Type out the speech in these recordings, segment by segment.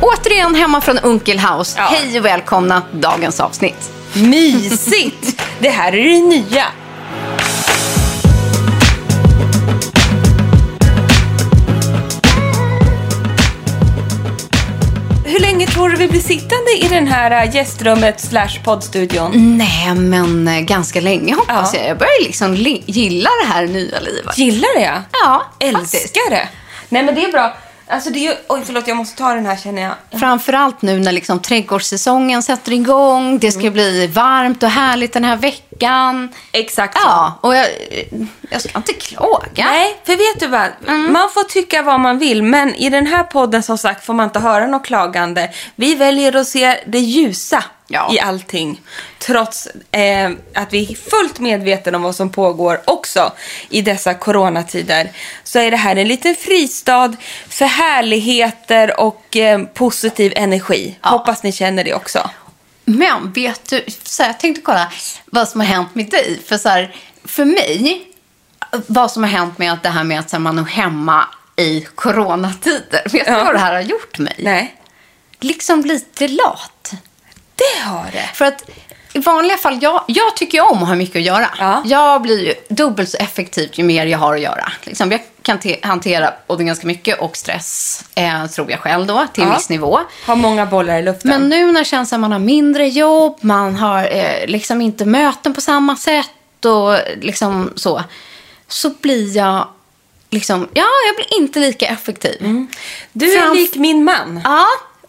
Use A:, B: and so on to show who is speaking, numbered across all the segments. A: Återigen hemma från Unkel House. Hej och välkomna dagens avsnitt.
B: Mysigt! Det här är det nya. Hur länge tror du vi blir sittande i den här äh, gästrummet slash poddstudion?
A: Nej, men eh, ganska länge hoppas
B: Ja.
A: jag. Jag börjar liksom li- gilla det här nya livet.
B: Gillar det?
A: Ja, faktiskt.
B: Älskar det! Nej men det är bra. Alltså det är ju... Oj förlåt jag måste ta den här känner jag.
A: Framförallt nu när liksom trädgårdssäsongen sätter igång. Det ska
B: Mm.
A: bli varmt och härligt den här veckan.
B: Exakt så.
A: Ja, och jag, eh, jag ska inte klaga.
B: Nej, för vet du vad?
A: Mm.
B: Man får tycka vad man vill, men i den här podden som sagt får man inte höra något klagande. Vi väljer att se det ljusa
A: Ja.
B: i allting. Trots eh, att vi är fullt medvetna om vad som pågår också i dessa coronatider. Så är det här en liten fristad för härligheter och eh, positiv energi. Hoppas ni känner det också.
A: Men vet du, så här, jag tänkte kolla vad som har hänt med dig. För, så här, för mig, vad som har hänt med att det här med att så här, man är hemma i coronatider. Vet du
B: Ja.
A: vad det här har gjort mig?
B: Nej,
A: Liksom lite lat.
B: det har det.
A: För att i vanliga fall, jag, jag tycker ju om att ha mycket att göra.
B: Ja.
A: Jag blir ju dubbelt så effektiv ju mer jag har att göra. Liksom, jag kan te- hantera både ganska mycket och stress, eh, tror jag själv då, till en
B: Ja.
A: viss nivå.
B: Har många bollar i luften.
A: Men nu när känns att man har mindre jobb, man har eh, liksom inte möten på samma sätt och liksom så. Så blir jag liksom, ja, jag blir inte lika effektiv.
B: Mm. du är
A: framf-
B: lik min man.
A: Ja,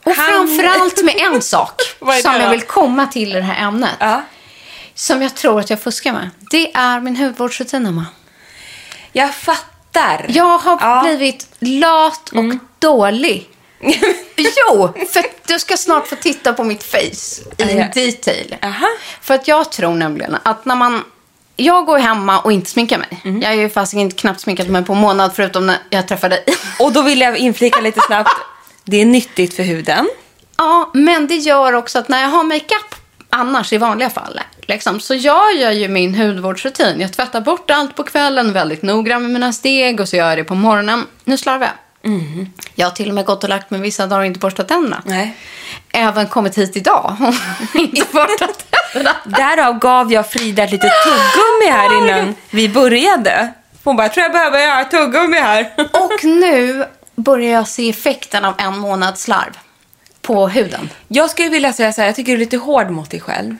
A: och
B: Han-
A: framförallt med en sak
B: Vad är
A: som
B: det
A: jag
B: då?
A: vill komma till i det här ämnet.
B: Ja.
A: Som jag tror att jag fuskar med. Det är min hudvårdsrutin, Emma.
B: Jag fattar.
A: Jag har
B: Ja. Mm.
A: blivit lat och dålig. jo, för att du ska snart få titta på mitt face i
B: Ja.
A: detail.
B: Aha.
A: För att jag tror nämligen att när man... Jag går hemma och inte sminkar mig.
B: Mhm.
A: Jag är ju fast inte knappt sminkat mig på en månad förutom när jag träffar dig.
B: Och då vill jag inflika lite snabbt. Det är nyttigt för huden.
A: ja, men det gör också att när jag har makeup annars i vanliga fall. Liksom, så jag gör ju min hudvårdsrutin. Jag tvättar bort allt på kvällen, väldigt noggrann med mina steg och så gör jag det på morgonen. Nu slarvar jag. Jag har till och med gått och lagt mig vissa dagar och inte borstat tänderna.
B: Mm-hmm. Nej.
A: Även kommit hit idag och inte borstat tänderna.
B: Därav gav jag Frida ett litet tuggummi här innan vi började. Hon bara, tror jag behöver göra ett tuggummi här.
A: Och nu börjar jag se effekten av en månads slarv på huden.
B: Jag skulle vilja säga så här, jag tycker du är lite hård mot dig själv.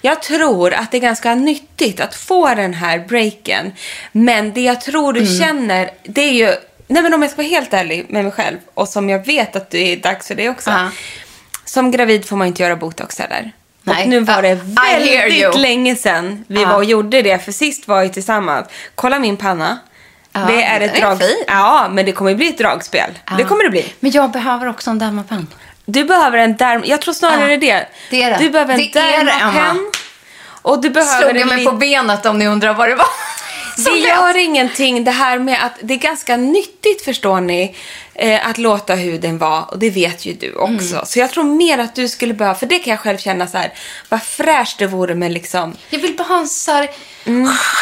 B: Jag tror att det är ganska nyttigt att få den här breaken. Men det jag tror du
A: Mm.
B: känner, det är ju... Nej men om jag ska vara helt ärlig med mig själv och som jag vet att det är dags för dig också.
A: Ja.
B: Som gravid får man inte göra botox heller.
A: Nej.
B: Och nu var
A: I
B: det
A: hear you.
B: väldigt länge sedan vi
A: Ja.
B: var och gjorde det. För sist var vi tillsammans. Kolla min panna.
A: Ja,
B: det är
A: den
B: ett
A: är
B: drag...
A: fin.
B: Ja, men det kommer bli ett dragspel. Det kommer det bli.
A: Men jag behöver också en dermapen.
B: Du behöver en derm... Jag tror snarare
A: Ja,
B: det.
A: det är det.
B: Du behöver en
A: Det är det, Emma.
B: dermapen. Och du behöver
A: Slog
B: en
A: jag mig
B: lit-
A: på benet om ni undrar vad det var. som
B: det
A: vet.
B: gör ingenting det här med att det är ganska nyttigt förstår ni eh, att låta huden vara och det vet ju du också.
A: Mm.
B: Så jag tror mer att du skulle behöva, för det kan jag själv känna så här, vad fräscht det vore med liksom
A: Jag vill bara ha en så här...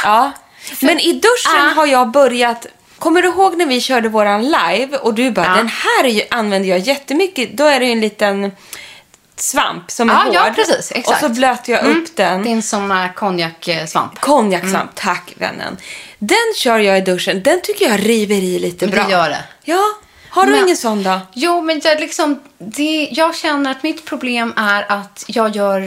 B: Ja. Men i duschen
A: Ah.
B: har jag börjat... Kommer du ihåg när vi körde våran live och du bara
A: Ja.
B: den här är ju, använder jag jättemycket. Då är det ju en liten svamp som
A: Ja,
B: är hård.
A: ja, precis. Exakt.
B: Och så blöter jag
A: Mm.
B: upp den.
A: Det är en Mm. sån här konjaksvamp.
B: Konjaksvamp, tack vännen. Den kör jag i duschen. Den tycker jag river i lite
A: Men det
B: bra.
A: gör det.
B: Ja. Har du
A: Men-
B: ingen sån då?
A: Jo, men jag, liksom, det, jag känner att mitt problem är att jag gör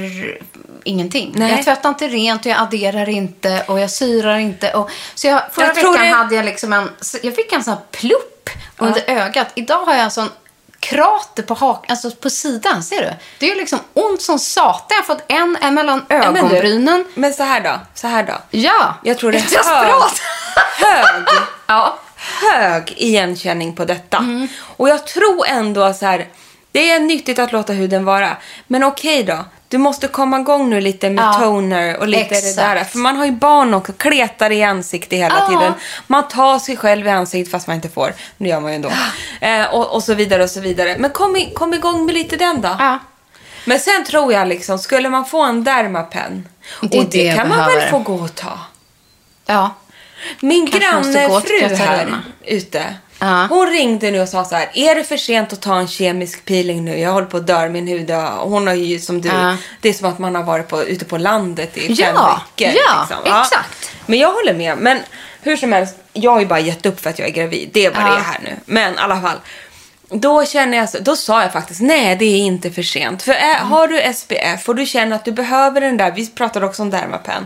A: ingenting.
B: Nej.
A: Jag tvättar inte rent och jag adderar inte och jag syrar inte. Och, så jag, förra
B: Jag tror
A: veckan
B: det-
A: hade jag liksom en... så Jag fick en sån här plupp under ögat. Idag har jag en sån krater på hakan, alltså på sidan, ser du? Det är ju liksom ont som satan. Jag har fått en är mellan
B: Ja, men du.
A: ögonbrynen.
B: Men så här då, så här då.
A: Ja,
B: Jag tror det är hög,
A: desperat.
B: hög,
A: Ja.
B: hög igenkänning på detta.
A: Mm.
B: Och jag tror ändå så här, det är nyttigt att låta huden vara. Men okej då, du måste komma igång nu lite med
A: Ja.
B: toner och lite
A: Exakt.
B: det där. För man har ju barn också, kletar i ansiktet hela
A: Ja.
B: tiden. Man tar sig själv i ansiktet fast man inte får. Det gör man ju ändå. Eh, och, och så vidare och så vidare. Men kom, i, kom igång med lite den då.
A: Ja.
B: Men sen tror jag liksom, skulle man få en dermapen. Och
A: Det är
B: det,
A: det jag
B: kan man väl
A: behöver.
B: få gå och ta.
A: ja.
B: Min
A: Kanske måste gå till
B: grannfru här
A: Katarina.
B: ute.
A: Ja.
B: Hon ringde nu och sa så här. Är det för sent att ta en kemisk peeling nu? Jag håller på att dö, min hud dör." Och Hon har ju som du.
A: Ja.
B: Det är som att man har varit på, ute på landet i
A: Ja,
B: fem veckor. liksom."
A: ja, exakt.
B: Men jag håller med. Men hur som helst. Jag har ju bara gett upp för att jag är gravid. Det är vad
A: Ja.
B: det är här nu. Men i alla fall. Då känner jag, så- då sa jag faktiskt nej det är inte för sent. För är,
A: Mm.
B: har du SPF och du känner att du behöver den där, vi pratade också om Dermapen,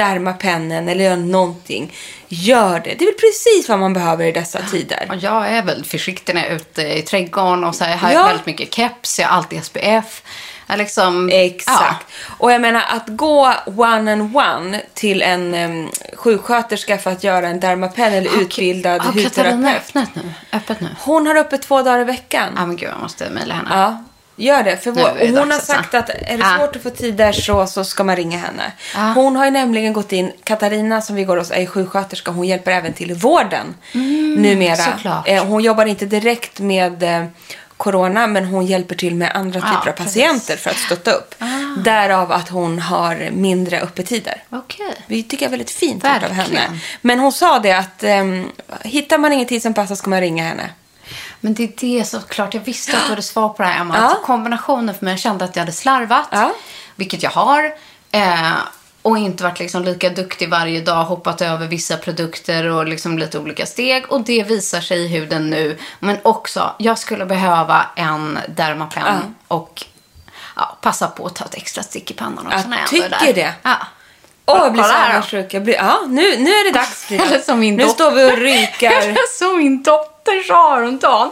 B: Dermapennen eller gör någonting. Gör det. Det är väl precis vad man behöver i dessa
A: Ja,
B: tider.
A: jag är väl försiktig när jag är ute i trädgården och så här, jag har
B: Ja.
A: väldigt mycket keps, jag har alltid SPF. Jag liksom,
B: Exakt. Och jag menar att gå one and one till en um, sjuksköterska för att göra en Dermapen eller
A: Ja.
B: utbildad
A: Har Katarina
B: hudterapeut.
A: öppnat nu? Öppet nu?
B: Hon har öppet två dagar i veckan.
A: Ja, men gud, jag måste mejla henne.
B: Ja, gör det. För
A: Nu
B: vår,
A: är det
B: och hon har
A: dags
B: sagt
A: alltså.
B: att är det
A: Ja.
B: svårt att få tid där så, så ska man ringa henne.
A: Ja.
B: Hon har ju nämligen gått in, Katarina som vi går hos är sjuksköterska, hon hjälper även till i vården numera.
A: Mm, såklart.
B: Eh, Hon jobbar inte direkt med eh, corona men hon hjälper till med andra typer av
A: precis. Ah.
B: patienter för att stötta upp. Därav att hon har mindre öppettider.
A: Okej.
B: Vi tycker jag är väldigt fint gjort av
A: Verkligen.
B: henne. Men hon sa det att ehm, hittar man ingen tid som passar ska man ringa henne.
A: Men det är det såklart. Jag visste att du hade svar på det här, Emma.
B: Ja.
A: Alltså, kombinationen för mig, jag kände att jag hade slarvat,
B: Ja.
A: vilket jag har. Eh, och inte varit liksom lika duktig varje dag, hoppat över vissa produkter och liksom lite olika steg. Och det visar sig i huden nu. Men också, jag skulle behöva en dermapen och ja, passa på att ta ett extra stick i pannan också
B: Ja,
A: när jag ändå är
B: tycker
A: där.
B: det.
A: Ja.
B: Åh, jag blir så
A: Kolla här då.
B: avundsjuk. Jag blir, ja, nu, nu är det dags Frida.
A: Eller som min
B: Nu
A: dotter.
B: står vi och rynkar.
A: Eller som min dotter sa häromdagen.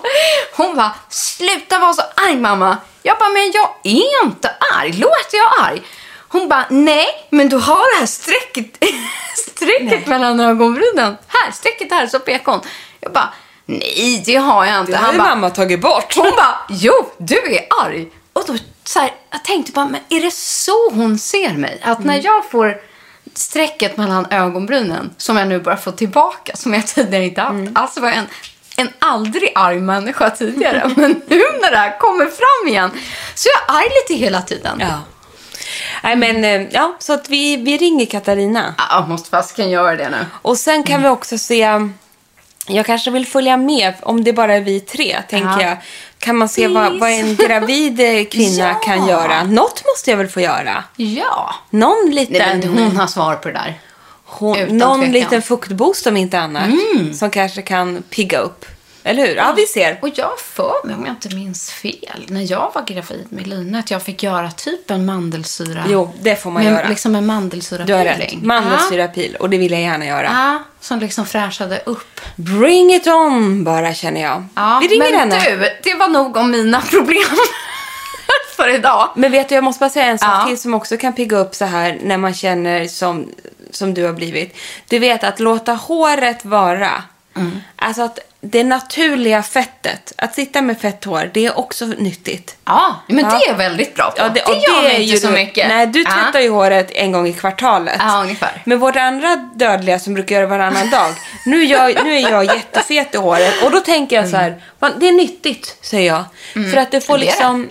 A: Hon bara, sluta vara så arg mamma. Jag bara, men jag är inte arg. Låter jag arg? Hon bara, nej, men du har det här strecket, strecket mellan ögonbrynen. Här, strecket här, så pekar hon. Jag bara, nej, det har jag inte.
B: Det har ju
A: bara,
B: mamma tagit bort.
A: hon bara, jo, du är arg. Och då så här, jag tänkte bara, men är det så hon ser mig? Att när jag får strecket mellan ögonbrynen, som jag nu börjar få tillbaka, som jag tidigare inte haft. Alltså var jag en, en aldrig arg människa tidigare, men nu när det här kommer fram igen, så är jag arg lite hela tiden.
B: Ja. Nej, men eh, ja, så att vi, vi ringer Katarina.
A: Ja, Jag måste fasiken göra det nu.
B: Och sen kan vi också se, jag kanske vill följa med om det bara är vi tre, tänker
A: Ja.
B: jag. Kan man se vad,
A: Please.
B: vad en gravid eh, kvinna
A: Ja.
B: kan göra? Något måste jag väl få göra?
A: Ja.
B: Någon
A: Nej,
B: liten,
A: men hon har svar på det där.
B: hon,
A: utan
B: någon
A: tvekan. Mm.
B: liten fuktboost om inte annat. Som kanske kan pigga upp. Eller hur? Ja, vi ser.
A: Och jag har för mig, om jag inte minns fel, när jag var gravid med Lina, att jag fick göra typ en mandelsyra.
B: Jo, det får man
A: Men
B: göra.
A: Liksom en mandelsyra
B: Du har rätt. Mandelstyrapil. Och det vill jag gärna göra.
A: Ja, som liksom fräschade upp.
B: Bring it on bara känner jag.
A: Ja,
B: Vi ringer
A: men
B: henne.
A: du, det var nog om mina problem för idag.
B: Men vet du, jag måste bara säga en sak
A: Ja.
B: till som också kan pigga upp så här när man känner som, som du har blivit. Du vet att låta håret vara
A: Mm.
B: Alltså att det naturliga fettet, att sitta med fett hår, det är också nyttigt.
A: Ja, men
B: Ja.
A: det är jag väldigt bra på.
B: Ja,
A: det,
B: och
A: gör
B: är
A: mig inte
B: ju
A: så
B: du-
A: mycket.
B: Nej, du tvättar
A: ja.
B: ju håret en gång i kvartalet.
A: Ja, ungefär.
B: Men vårt andra dödliga som brukar göra varannan dag. Nu är jag, nu är jag jättefet i håret och då tänker jag så här, "Man, det är nyttigt, säger jag. För att det får
A: Mm. det är
B: liksom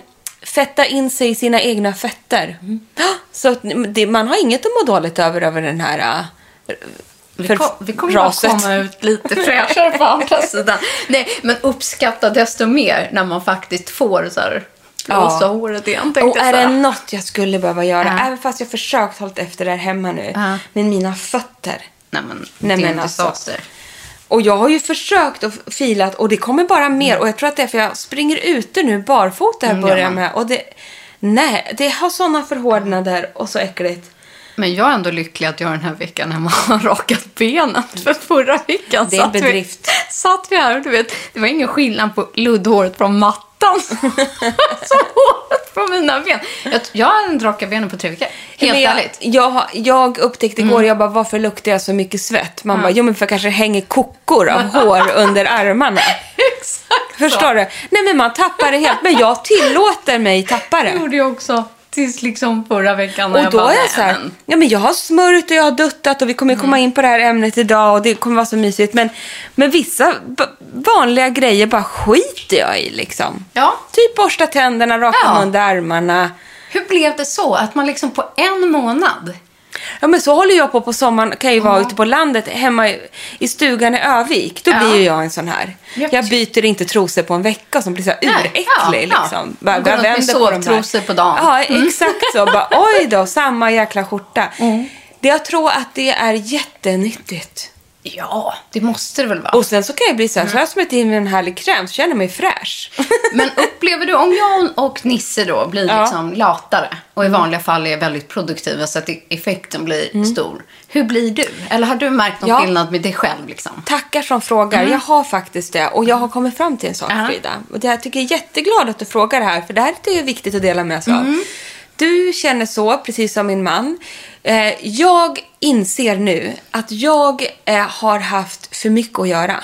B: fetta in sig i sina egna fetter. Så att det, man har inget att må dåligt över, över den här äh,
A: Vi,
B: för-
A: kom, vi kommer bara komma ut lite fräschare på andra sidan. Nej, men uppskatta desto mer när man faktiskt får så här blåsa
B: Ja.
A: håret igen. tänkte
B: Och
A: jag
B: är det
A: säga.
B: något jag skulle behöva göra,
A: Ja.
B: även fast jag försökt hålla efter där hemma nu,
A: Ja.
B: men mina fötter.
A: Nej, men,
B: Nej,
A: det är
B: men
A: en
B: alltså.
A: disaster.
B: Och jag har ju försökt och filat och det kommer bara
A: Mm.
B: mer. Och jag tror att det är för jag springer ute nu barfota här börjar
A: ja.
B: med. Och det, nej, det har såna förhårdnader och så äckligt.
A: Men jag är ändå lycklig att jag den här veckan hemma har rakat benen. För förra veckan
B: Det är en
A: satt vi-
B: bedrift.
A: satt vi här och du vet, det var ingen skillnad på luddhåret från mattan som håret från mina ben. Jag, jag har inte rakat benen på tre veckor. Helt
B: Men jag,
A: ärligt. Mm.
B: Jag, har- jag upptäckte igår, jag bara varför luktar jag så mycket svett? Man bara, jo men för jag kanske hänger kokor av hår under armarna.
A: Exakt så.
B: Förstår du? Nej men man tappar det helt. Men jag tillåter mig tappa
A: Det
B: det.
A: gjorde jag också tills liksom förra veckan. när
B: Och då
A: bara,
B: är
A: nej,
B: jag så här,
A: men- Mm.
B: ja men jag har smörjt och jag har duttat och vi kommer komma in på det här ämnet idag och det kommer vara så mysigt. Men, men vissa b- vanliga grejer bara skiter jag i liksom.
A: Ja.
B: Typ borsta tänderna, raka
A: Ja.
B: mig under armarna.
A: Hur blev det så? Att man liksom på en månad...
B: Ja men så håller jag på på sommaren, kan jag ju vara ute på landet, hemma i, i stugan i Övik. Då
A: Ja.
B: blir ju jag en sån här.
A: Japp.
B: Jag byter inte trosor på en vecka som blir så här
A: Nej,
B: uräcklig.
A: ja,
B: liksom.
A: ja. Man går runt med sovtrosor på dagen. Mm.
B: Ja, exakt så. Bara, oj då, samma jäkla skjorta. Det, jag tror att det är jättenyttigt.
A: Ja, det måste det väl vara.
B: Och sen så kan jag bli så här, så har jag smörjt in mig en härlig kräm så känner jag mig fräsch.
A: Mm. Men upplever du, om jag och Nisse då blir
B: Ja.
A: liksom latare och i vanliga fall är väldigt produktiva så att e- effekten blir stor. Hur blir du? Eller har du märkt någon
B: Mm. Ja.
A: skillnad med dig själv? Liksom?
B: Tackar som frågar.
A: Mm.
B: Jag har faktiskt det och jag har kommit fram till en sak
A: Ja.
B: Frida. Och det här tycker jag är jätteglad att du frågar det här för det här är ju viktigt att dela med sig av.
A: Mm.
B: Du känner så, precis som min man. Eh, jag inser nu att jag eh, har haft för mycket att göra.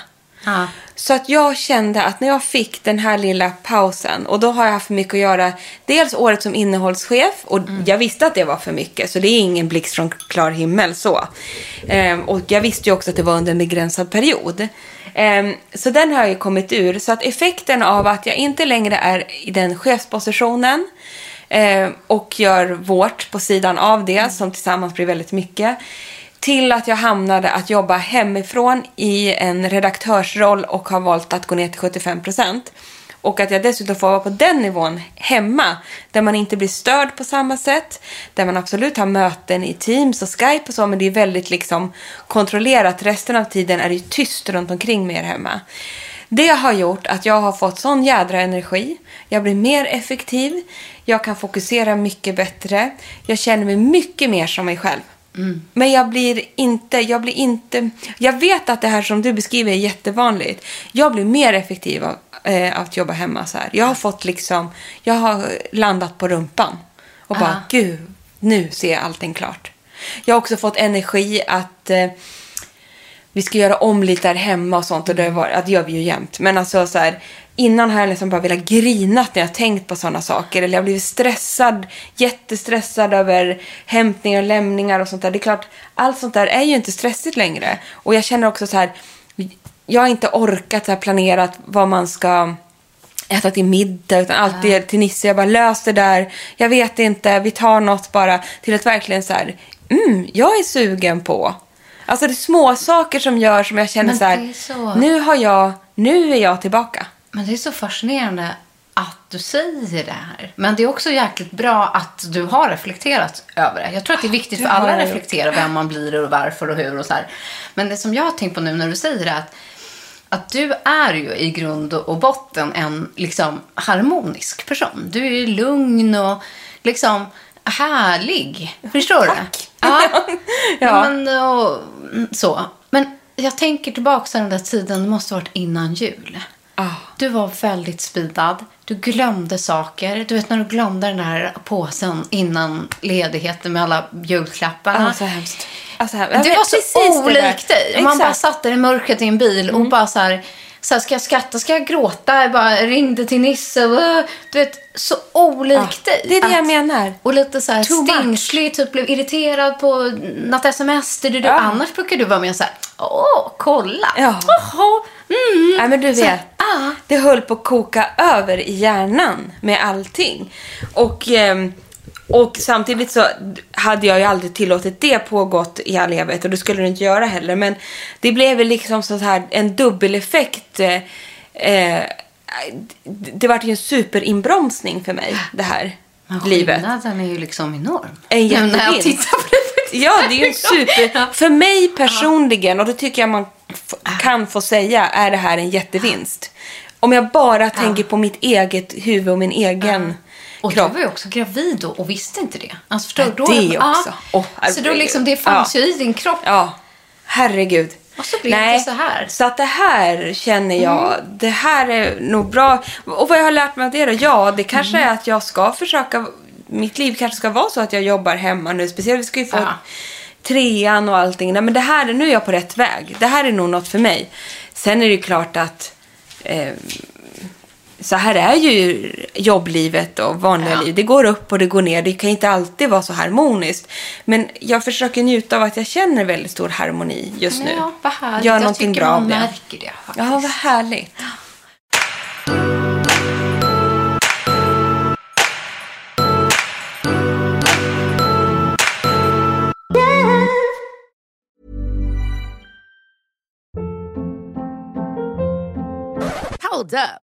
A: Ja.
B: Så att jag kände att när jag fick den här lilla pausen och då har jag haft för mycket att göra. Dels året som innehållschef och
A: Mm.
B: jag visste att det var för mycket så det är ingen blixt från klar himmel så. Ehm, och jag visste ju också att det var under en begränsad period. Ehm, så den har jag ju kommit ur. Så att effekten av att jag inte längre är i den chefspositionen eh, och gör vårt på sidan av det som tillsammans blir väldigt mycket till att jag hamnade att jobba hemifrån i en redaktörsroll och har valt att gå ner till 75 och att jag dessutom får vara på den nivån hemma där man inte blir störd på samma sätt. Där man absolut har möten i Teams och Skype och så men det är väldigt liksom kontrollerat. Resten av tiden är det ju tyst runt omkring mer hemma. Det har gjort att jag har fått sån jädra energi. Jag blir mer effektiv. Jag kan fokusera mycket bättre. Jag känner mig mycket mer som mig själv. Men jag blir inte, jag blir inte, jag vet att det här som du beskriver är jättevanligt. Jag blir mer effektiv av, eh, av att jobba hemma så här. Jag har fått liksom, jag har landat på rumpan och bara, gud, nu ser jag allting klart. Jag har också fått energi att eh, vi ska göra om lite här hemma och sånt. Och det, var, ja, det gör vi ju jämt. Men alltså så här, innan har jag liksom bara velat grinat när jag tänkt på sådana saker. Eller jag har blivit stressad, jättestressad över hämtningar och lämningar och sånt där. Det är klart, allt sånt där är ju inte stressigt längre. Och jag känner också så här, jag har inte orkat så här planerat vad man ska äta till middag utan alltid till Nisse. Jag bara lös det där. Jag vet inte. Vi tar något bara till att verkligen så här. Mm, jag är sugen på. Alltså det är små saker som gör som jag känner
A: Men
B: så här.
A: det är så.
B: Nu har jag. Nu är jag tillbaka.
A: Men det är så fascinerande att du säger det här. Men det är också jäkligt bra att du har reflekterat över det. Jag tror att det är viktigt för
B: det har
A: alla
B: jag
A: att
B: gjort.
A: reflektera vem man blir och varför och hur och så här. Men det som jag har tänkt på nu när du säger det är att att du är ju i grund och botten en liksom harmonisk person. Du är ju lugn och liksom härlig. Förstår du?
B: Tack.
A: Ja.
B: Ja.
A: Nej, men, och, mm, så. men jag tänker tillbaka till den där tiden, det måste ha varit innan jul.
B: Ah.
A: Du var väldigt speedad. Du glömde saker. Du vet när du glömde den där påsen innan ledigheten med alla julklapparna.
B: Ah, så hemskt. Ah, så hemskt. Jag
A: Det
B: vet
A: var så
B: precis det där.
A: olikt dig. Man
B: Exakt. Mm.
A: bara satt där i mörkret i en bil och bara så här, så här, ska jag skratta, ska jag gråta? Jag bara ringde till Nisse. Och, du vet, så olikt
B: Ja,
A: dig.
B: Ah. det är det jag menar.
A: Och lite så här
B: Too much.
A: stingslig, typ blev irriterad på något sms. Du, du, du.
B: Ja.
A: Annars brukar du vara mer så här, åh, kolla.
B: Ah. Ja.
A: Jaha, mm.
B: Nej, men du
A: Så-
B: vet.
A: ah.
B: Det höll på att koka över i hjärnan med allting. Och, ehm, och samtidigt så hade jag ju aldrig tillåtit det pågått i all evighet och det skulle du inte göra heller. Men det blev väl liksom så här en dubbeleffekt. eh, Eh, det det vart ju en superinbromsning för mig
A: Ah,
B: det här
A: Men
B: livet.
A: skillnaden är ju liksom enorm.
B: En
A: Nu när jag
B: jättevind.
A: tittar på det.
B: Ja, det är ju en super... För mig personligen, och det tycker jag man f- kan få säga, är det här en jättevinst. Om jag bara tänker på mitt eget huvud och min egen
A: Och
B: kropp.
A: du var ju också gravid då och visste inte det. Alltså förstår
B: Ja,
A: du? då?
B: det också. Åh,
A: Ja. Så då
B: herregud.
A: liksom, det fanns
B: Ja.
A: ju i din kropp.
B: Ja, herregud.
A: Och så blir det så här. Mm.
B: Så att det här känner jag, det här är nog bra. Och vad jag har lärt mig av det då? Ja, det kanske
A: Mm.
B: är att jag ska försöka, mitt liv kanske ska vara så att jag jobbar hemma nu. Speciellt, vi ska ju få
A: Ja.
B: trean och allting. Nej, men det här, är- nu är jag på rätt väg. Det här är nog något för mig. Sen är det ju klart att eh, så här är ju jobblivet och vanliga
A: Ja.
B: liv. Det går upp och det går ner. Det kan inte alltid vara så harmoniskt. Men jag försöker njuta av att jag känner väldigt stor harmoni just nu.
A: Ja, vad härligt.
B: Gör
A: jag
B: någonting
A: tycker
B: bra
A: man
B: av det.
A: märker det faktiskt.
B: Ja, vad härligt.
C: Hold up.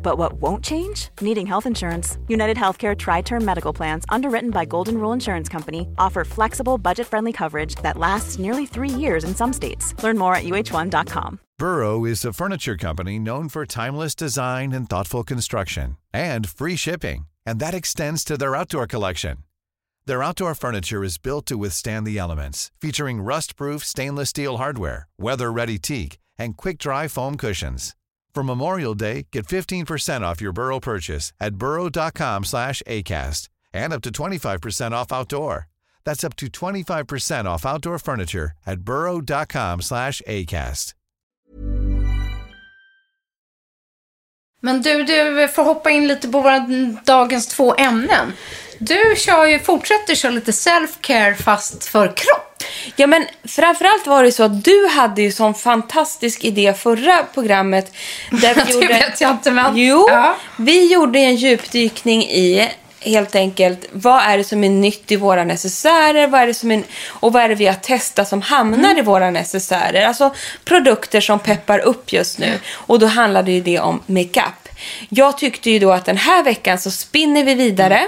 D: But what won't change? Needing health insurance. United Healthcare Tri Term Medical Plans, underwritten by Golden Rule Insurance Company, offer flexible, budget friendly coverage that lasts nearly three years in some states. Learn more at uh1.com.
E: Burrow is a furniture company known for timeless design and thoughtful construction and free shipping, and that extends to their outdoor collection. Their outdoor furniture is built to withstand the elements, featuring rust-proof stainless steel hardware, weather-ready teak, and quick-dry foam cushions. For Memorial Day, get 15% off your Burrow purchase at burrow.com/acast and up to 25% off outdoor. That's up to 25% off outdoor furniture at burrow.com/acast.
A: Men du, du får hoppa in lite på våra dagens två ämnen. Du kör ju, fortsätter köra lite self-care fast för kropp.
B: Ja, men framförallt var det så att du hade ju sån fantastisk idé förra programmet. Där
A: Det vet jag inte, men-
B: Jo,
A: Ja.
B: vi gjorde en djupdykning i helt enkelt vad är det som är nytt i våra necessärer vad är det som är, och vad är det vi har testat som hamnar
A: Mm.
B: i våra necessärer. Alltså produkter som peppar upp just nu. Och då handlade ju det om makeup. Jag tyckte ju då att den här veckan så spinner vi vidare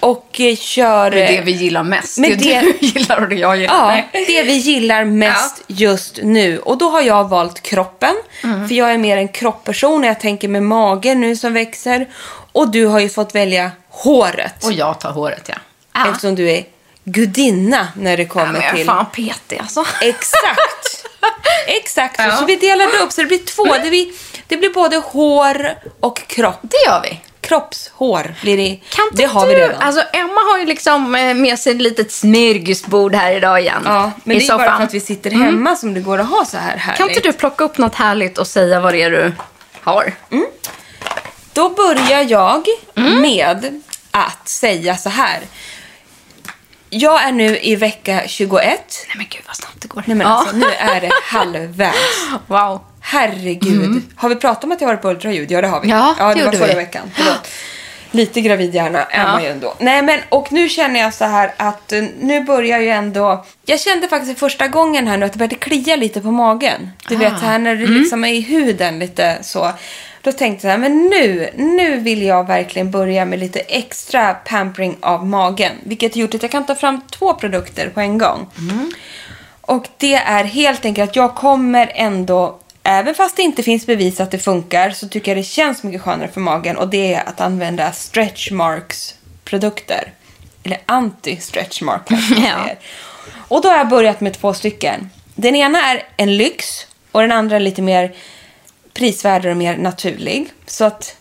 B: och eh, kör...
A: Mm. Det är det vi gillar mest.
B: Men
A: det är
B: det-
A: det du gillar och det jag gillar.
B: Ja,
A: Nej.
B: det vi gillar mest just nu. Och då har jag valt kroppen.
A: Mm.
B: För jag är mer en kroppsperson. Jag tänker med magen nu som växer. Och du har ju fått välja håret.
A: Och jag tar håret, ja.
B: Eftersom du är gudinna när det
A: ja men
B: kommer
A: jag är
B: till...
A: fan petig alltså.
B: Exakt! Exakt så.
A: Ja.
B: Så vi delade upp så det blir två. Det, blir, det blir både hår och kropp.
A: Det gör vi.
B: Kroppshår blir det.
A: Kan inte
B: det har vi
A: du-
B: redan.
A: Alltså Emma har ju liksom eh, med sig ett litet smörgåsbord här idag igen.
B: ja, men
A: i
B: det är bara
A: soffan. Mm.
B: för att vi sitter hemma som det går att ha så här liksom. härligt.
A: Kan inte du plocka upp något härligt och säga vad det är du
B: Mm.
A: har?
B: Då börjar jag med att säga så här. Jag är nu i vecka 21.
A: Nej men gud vad snabbt det går.
B: Nej men
A: ja.
B: alltså, nu är det halvvägs.
A: Wow.
B: Herregud. Har vi pratat om att jag har varit på ultraljud? Ja, det har vi.
A: Mm. Ja, det
B: det var
A: gjorde
B: förra
A: vi.
B: veckan. Förlåt. Lite gravid hjärna är man ju ändå. Nej, men, och nu känner jag så här att eh, nu börjar ju ändå... Jag kände faktiskt första gången
A: Ah. Mm.
B: här nu att det började klia lite på magen. Du vet, så här när det liksom är i huden lite så. Då Då tänkte jag så här, men nu, nu vill jag verkligen börja med lite extra pampering av magen. Vilket gjort att jag kan ta fram två produkter på en gång. Och det är helt enkelt att jag kommer ändå, även fast det inte finns bevis att det funkar, så tycker jag det känns mycket skönare för magen. Och det är att använda stretchmarks produkter. Eller anti-stretchmark kanske man
A: Ja.
B: säger. Och då har jag börjat med två stycken. Den ena är en lyx och den andra är lite mer prisvärdare och mer naturlig. Så att,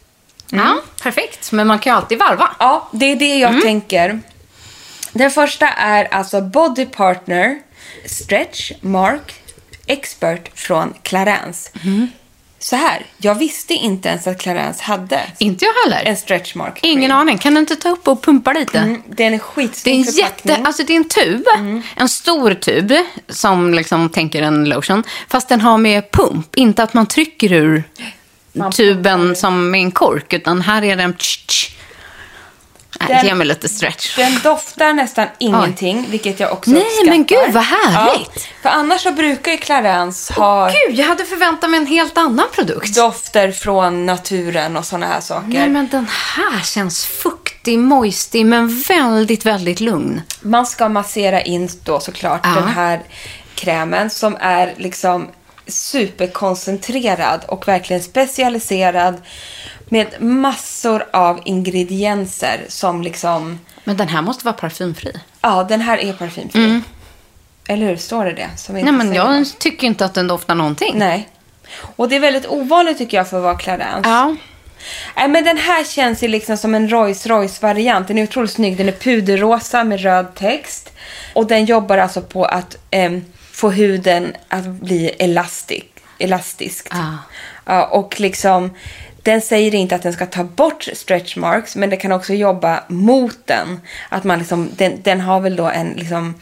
A: Ja, perfekt. Men man kan ju alltid varva.
B: Mm. ja, det är det
A: Mm.
B: jag tänker. Den första är alltså Body Partner Stretch Mark Expert från Clarins.
A: Mm.
B: Så här, jag visste inte ens att Clarins hade
A: Inte jag heller.
B: en stretch mark.
A: Ingen aning. Kan du inte ta upp och pumpa lite?
B: Mm, det är en
A: Det är
B: skitsnygg
A: en jätte,
B: förpackning.
A: alltså det är en tub,
B: Mm.
A: en stor tub som liksom tänker en lotion, fast den har med pump, inte att man trycker ur tuben som med en kork, utan här är den... Tsch, tsch. Nej,
B: Den-
A: ge mig lite stretch.
B: Den doftar nästan ingenting, vilket jag också
A: Nej,
B: uppskattar.
A: men gud, vad härligt.
B: Ja, för annars så brukar ju Clarence ha
A: Gud, jag hade förväntat mig en helt annan produkt.
B: dofter från naturen och sådana här saker.
A: Nej, men den här känns fuktig, moistig, men väldigt, väldigt lugn.
B: Man ska massera in då såklart
A: Ja.
B: den här krämen som är liksom superkoncentrerad och verkligen specialiserad med massor av ingredienser som liksom...
A: Men den här måste vara parfymfri.
B: Ja, den här är parfymfri. Eller hur? Står det det? Som inte
A: Mm. Nej, men
B: säger något.
A: jag tycker inte att den doftar någonting.
B: Nej. Och det är väldigt ovanligt tycker jag för att vara Clarence.
A: Ja.
B: Nej, Äh, men den här känns ju liksom som en Rolls Royce-variant. Den är otroligt snygg. Den är puderrosa med röd text. Och den jobbar alltså på att em, få huden att bli elastik, elastisk.
A: Ah.
B: Ja, och liksom, den säger inte att den ska ta bort stretch marks, men den kan också jobba mot den. Att man liksom, den, den har väl då en, liksom,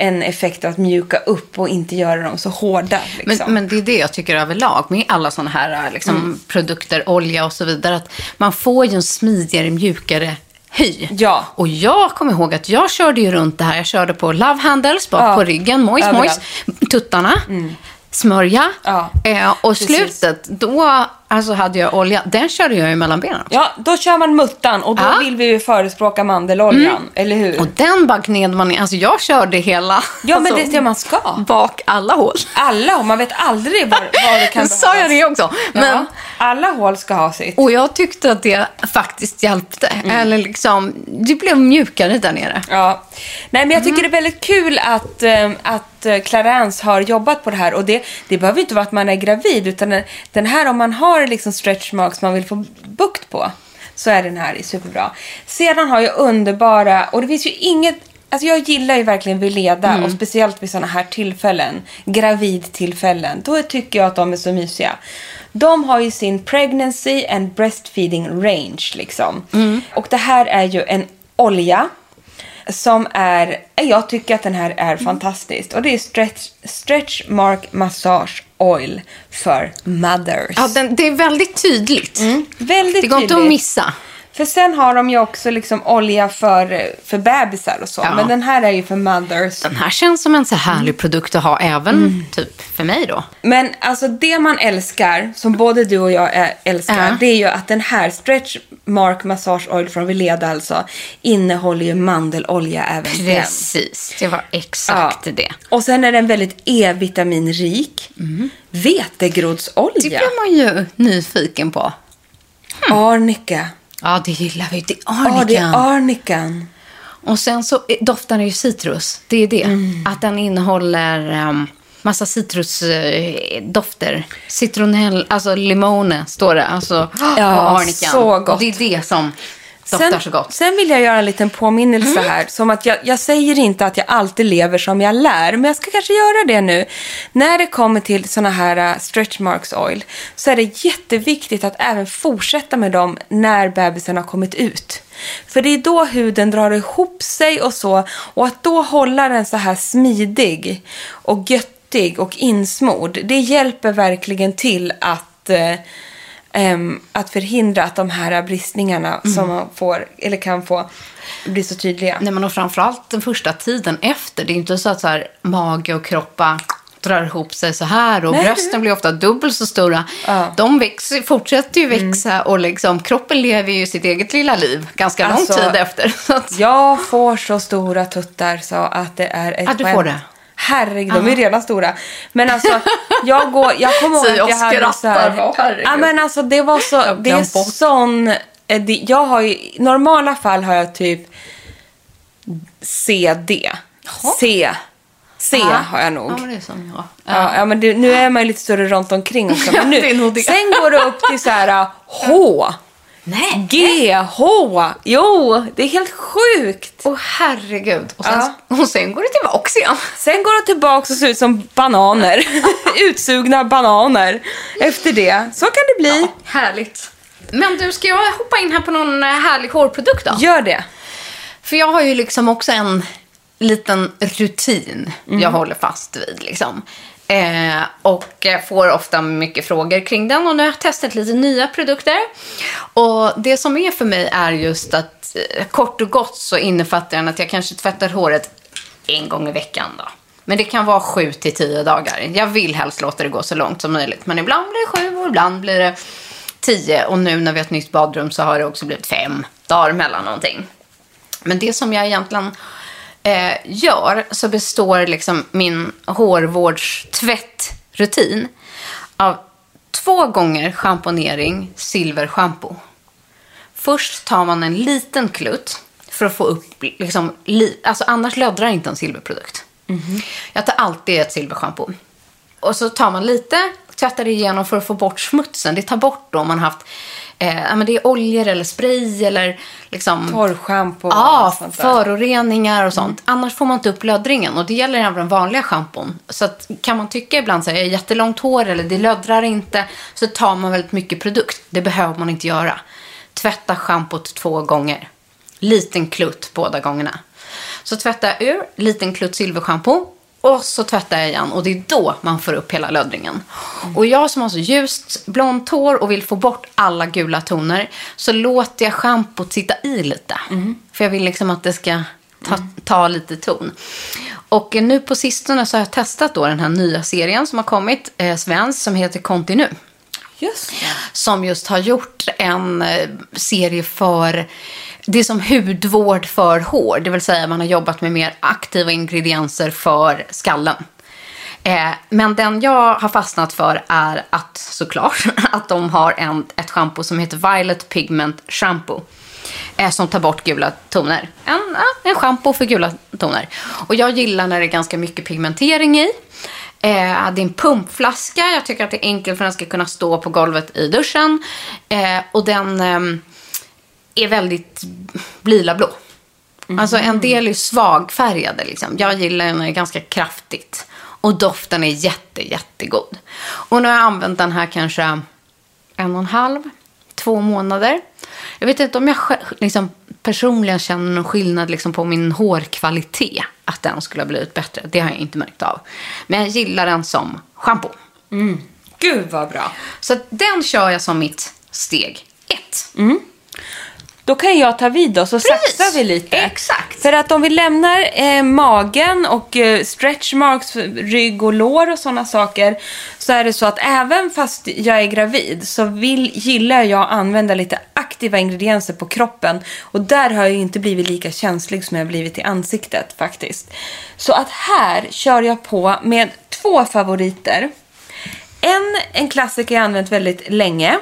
B: en effekt av att mjuka upp och inte göra dem så hårda. Liksom.
A: Men,
B: Mm.
A: men det är det jag tycker överlag med alla sådana här äh, liksom, produkter, olja och så vidare. Att man får ju en smidigare, mjukare hy.
B: Ja.
A: Och jag kommer ihåg att jag körde ju runt det här. Jag körde på love handles, bak
B: Ja.
A: på ryggen, mojs, mojs,
B: Överallt. Mm.
A: tuttarna, smörja.
B: Ja.
A: Eh, och
B: Precis.
A: slutet, då alltså, hade jag olja. Den körde jag ju mellan benen. också.
B: Ja, då kör man muttan och då
A: Ja. Mm.
B: vill vi ju förespråka mandeloljan, eller hur?
A: Och den bara gned man i. Alltså jag körde hela...
B: Ja, men det
A: alltså,
B: är det man ska.
A: Bak alla hål.
B: Alla och man vet aldrig var, var det kan
A: Sa jag det också?
B: Ja,
A: Men,
B: alla hål ska ha sitt.
A: Och jag tyckte att det faktiskt hjälpte. Eller liksom, det blev mjukare där nere.
B: Ja. Nej, men jag tycker det är väldigt kul att, eh, att eh, Clarence har jobbat på det här. Och det, det behöver inte vara att man är gravid, utan den- den här om man har liksom stretch marks man vill få bukt på, så är den här superbra. Sedan har jag underbara, och det finns ju inget Alltså jag gillar ju verkligen Vileda och speciellt vid sådana här tillfällen, gravidtillfällen. Då tycker jag att de är så mysiga. De har ju sin pregnancy and breastfeeding range liksom. Och det här är ju en olja som är, jag tycker att den här är fantastisk. Och det är stretch, stretch Mark Massage Oil för mothers.
A: Ja, den, det är väldigt tydligt.
B: Väldigt
A: Det går inte att
B: tydligt.
A: missa.
B: För sen har de ju också liksom olja för, för bebisar och så.
A: Ja.
B: Men den här är ju för mothers.
A: Den här känns som en så härlig produkt att ha även typ för mig då.
B: Men alltså det man älskar, som både du och jag ä- älskar,
A: Ja.
B: det är ju att den här Stretch Mark Massage Oil från Vileda alltså innehåller ju mandelolja även den.
A: Precis, det var exakt det. Mm.
B: Och sen är den väldigt E-vitaminrik. Vetegroddsolja.
A: Det blir man ju nyfiken på.
B: Arnika.
A: Ja, det gillar vi. Det är
B: Ja, det
A: arnikan.
B: är arnikan.
A: Och sen så doftar den ju citrus. Det är det.
B: Mm.
A: Att den innehåller em, massa citrusdofter. Citronell, alltså limone står det. Alltså
B: Ah, Ja,
A: och arnikan.
B: så gott.
A: Och det är det som doftar så gott. Mm.
B: sen vill jag göra en liten påminnelse här. Som att jag, jag säger inte att jag alltid lever som jag lär, men jag ska kanske göra det nu. När det kommer till såna här äh, stretch marks oil så är det jätteviktigt att även fortsätta med dem när bebisen har kommit ut. För det är då huden drar ihop sig och så. Och att då hålla den så här smidig och göttig och insmord, det hjälper verkligen till att eh, ehm, att förhindra att de här bristningarna
A: Mm.
B: som man får, eller kan få, blir så tydliga.
A: Nej, men och framförallt den första tiden efter. Det är inte så att så här, mage och kropp bara drar ihop sig så här och brösten blir ofta dubbelt så stora. De växer, fortsätter ju växa
B: Mm.
A: och liksom, kroppen lever ju sitt eget lilla liv ganska
B: Alltså,
A: lång tid efter. Så att,
B: Jag får så stora tuttar så att det är ett
A: Ja, du får
B: skämt.
A: det.
B: Herregud, de är redan stora. Men alltså, jag går... Jag kommer ihåg
A: Säg,
B: att jag
A: jag
B: hade så
A: skrattar
B: här...
A: bara, herregud.
B: Ja, men alltså det var så...
A: har
B: Det är
A: glömt bort.
B: sån... eh, Det, jag har ju, I normala fall har jag typ CD. C. C
A: Ja.
B: har jag nog.
A: Ja, men det är som jag.
B: Ja, ja, men det, nu är man ju lite större runt omkring också. Men nu,
A: Ja, det är nog det.
B: sen går det upp till så här eh, H.
A: Nej.
B: G, H. Jo, det är helt sjukt.
A: Åh herregud. Och sen,
B: Ja.
A: och sen går det tillbaka igen.
B: Sen går de tillbaka och ser ut som bananer. Utsugna bananer. Efter det. Så kan det bli.
A: Härligt. Men du, ska jag hoppa in här på någon eh, härlig hårprodukt då?
B: Gör det.
A: För jag har ju liksom också en liten rutin jag håller fast vid. Liksom. Eh, och eh, får ofta mycket frågor kring den. Och nu har jag testat lite nya produkter. Och det som är för mig är just att eh, kort och gott så innefattar den att jag kanske tvättar håret en gång i veckan då. Men det kan vara sju till tio dagar. Jag vill helst låta det gå så långt som möjligt. Men ibland blir det sju och ibland blir det tio. Och nu när vi har ett nytt badrum så har det också blivit fem dagar mellan någonting. Men det som jag egentligen eh, gör så består liksom min hårvårdstvättrutin av två gånger schamponering silverschampo. Först tar man en liten klutt för att få upp liksom, li- alltså annars löddrar inte en silverprodukt. Jag tar alltid ett silverschampo. Och så tar man lite, tvättar det igenom för att få bort smutsen. Det tar bort då om man har haft eh, ja, men det är oljor eller spray eller liksom
B: Torrschampo och
A: Ja,
B: sånt där. Mm.
A: föroreningar och sånt. Annars får man inte upp löddringen och det gäller även den vanliga schampon. Så att, kan man tycka ibland så här, jag har jättelångt hår eller det löddrar inte, så tar man väldigt mycket produkt. Det behöver man inte göra. Tvätta schampot två gånger. Liten klutt båda gångerna. Så tvättar jag ur, liten klutt silverschampo och så tvättar jag igen och det är då man får upp hela löddringen. Och jag som har så ljust blont hår och vill få bort alla gula toner så låter jag schampot sitta i lite. För jag vill liksom att det ska ta, ta lite ton. Och eh, nu på sistone så har jag testat då den här nya serien som har kommit, eh, svensk, som heter Continu
B: Just det.
A: som just har gjort en eh, serie för det är som hudvård för hår. Det vill säga man har jobbat med mer aktiva ingredienser för skallen. Eh, men den jag har fastnat för är att såklart att de har en, ett shampoo som heter Violet Pigment Shampoo. Eh, som tar bort gula toner. En, ja, en shampoo för gula toner. Och jag gillar när det är ganska mycket pigmentering i. Eh, det är en pumpflaska. Jag tycker att det är enkelt för den ska kunna stå på golvet i duschen. Eh, och den ehm, är väldigt lilablå. Alltså en del är svagfärgade. Liksom. Jag gillar den när det är ganska kraftigt. Och doften är jätte, jättegod. Och nu har jag använt den här kanske en och en halv, två månader. Jag vet inte om jag sj- liksom, personligen känner någon skillnad liksom, på min hårkvalitet. Att den skulle ha blivit bättre. Det har jag inte märkt av. Men jag gillar den som shampoo.
B: Gud vad bra.
A: Så att den kör jag som mitt steg ett.
B: Då kan jag ta vid då så saxar vi lite.
A: Exakt.
B: För att om vi lämnar eh, magen och eh, stretch marks, rygg och lår och sådana saker så är det så att även fast jag är gravid så vill, gillar jag att använda lite aktiva ingredienser på kroppen och där har jag ju inte blivit lika känslig som jag har blivit i ansiktet faktiskt. Så att här kör jag på med två favoriter. En, en klassiker jag använt väldigt länge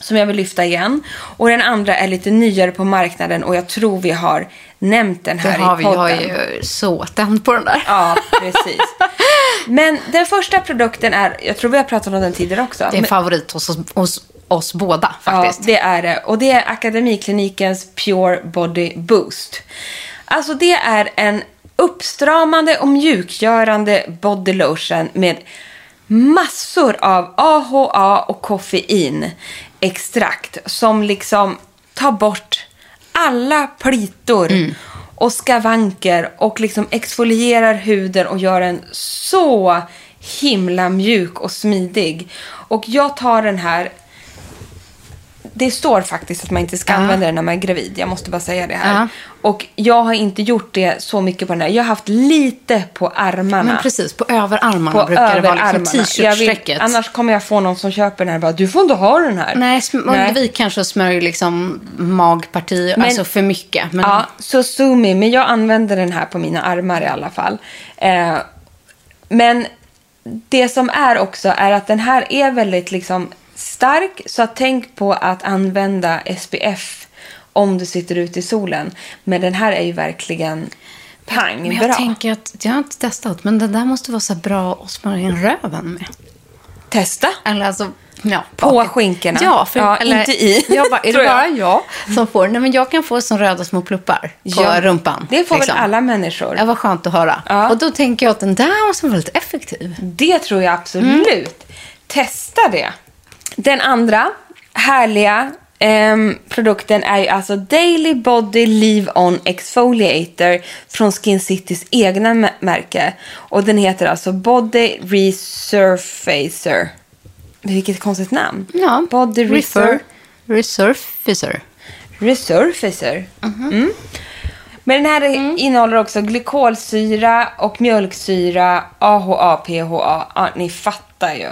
B: som jag vill lyfta igen. Och den andra är lite nyare på marknaden och jag tror vi har nämnt den
A: Det
B: här
A: har
B: i
A: vi.
B: podden.
A: Jag är ju så tänd på den där.
B: Ja, precis. Men den första produkten är, jag tror vi har pratat om den tidigare också.
A: Det är en favorit hos, oss- hos oss båda faktiskt.
B: Ja, det är det. Och det är Akademiklinikens Pure Body Boost. Alltså det är en uppstramande och mjukgörande body lotion med massor av AHA och koffeinextrakt som liksom tar bort alla plitor och skavanker och liksom exfolierar huden och gör den så himla mjuk och smidig. Och jag tar den här det står faktiskt att man inte ska
A: Ja.
B: använda det när man är gravid. Jag måste bara säga det här.
A: Ja.
B: Och jag har inte gjort det så mycket på den här. Jag har haft lite på armarna.
A: Men precis, på överarmarna
B: på
A: brukar det vara liksom
B: överarmarna. Jag vet,
A: t-shirtsträcket.
B: annars kommer jag få någon som köper den här och bara, du får inte ha den här.
A: Nej, sm- och vi kanske smörjer liksom magparti,
B: Men-
A: alltså för mycket. Men
B: Ja, så sumi. Men jag använder den här på mina armar i alla fall. Eh, men det som är också är att den här är väldigt liksom stark. Så att tänk på att använda SPF om du sitter ute i solen. Men den här är ju verkligen pang
A: Men
B: bra.
A: jag tänker att, jag har inte testat, men den där måste vara så här bra att smörja in röven med.
B: Testa.
A: Eller alltså, ja,
B: På
A: baken.
B: skinkorna.
A: Ja, för,
B: Ja,
A: eller,
B: inte i,
A: Jag bara, är det
B: tror jag.
A: bara jag som får? Nej, men jag kan få som röda små pluppar på
B: Ja,
A: rumpan.
B: Det får
A: liksom.
B: väl alla människor.
A: Ja, vad skönt att höra.
B: Ja.
A: Och då tänker jag att den där måste vara väldigt effektiv.
B: Det tror jag absolut. Testa det. Den andra härliga ehm, produkten är ju alltså Daily Body Leave On Exfoliator från Skin Citys egna mä- märke. Och den heter alltså Body Resurfacer. Vilket konstigt namn. Body Resur-
A: Refer- Resurfacer.
B: Resurfacer.
A: Mhm.
B: Mm. Men den här
A: Mm.
B: innehåller också glykolsyra och mjölksyra, AHA, PHA. Ja, ni fattar ju.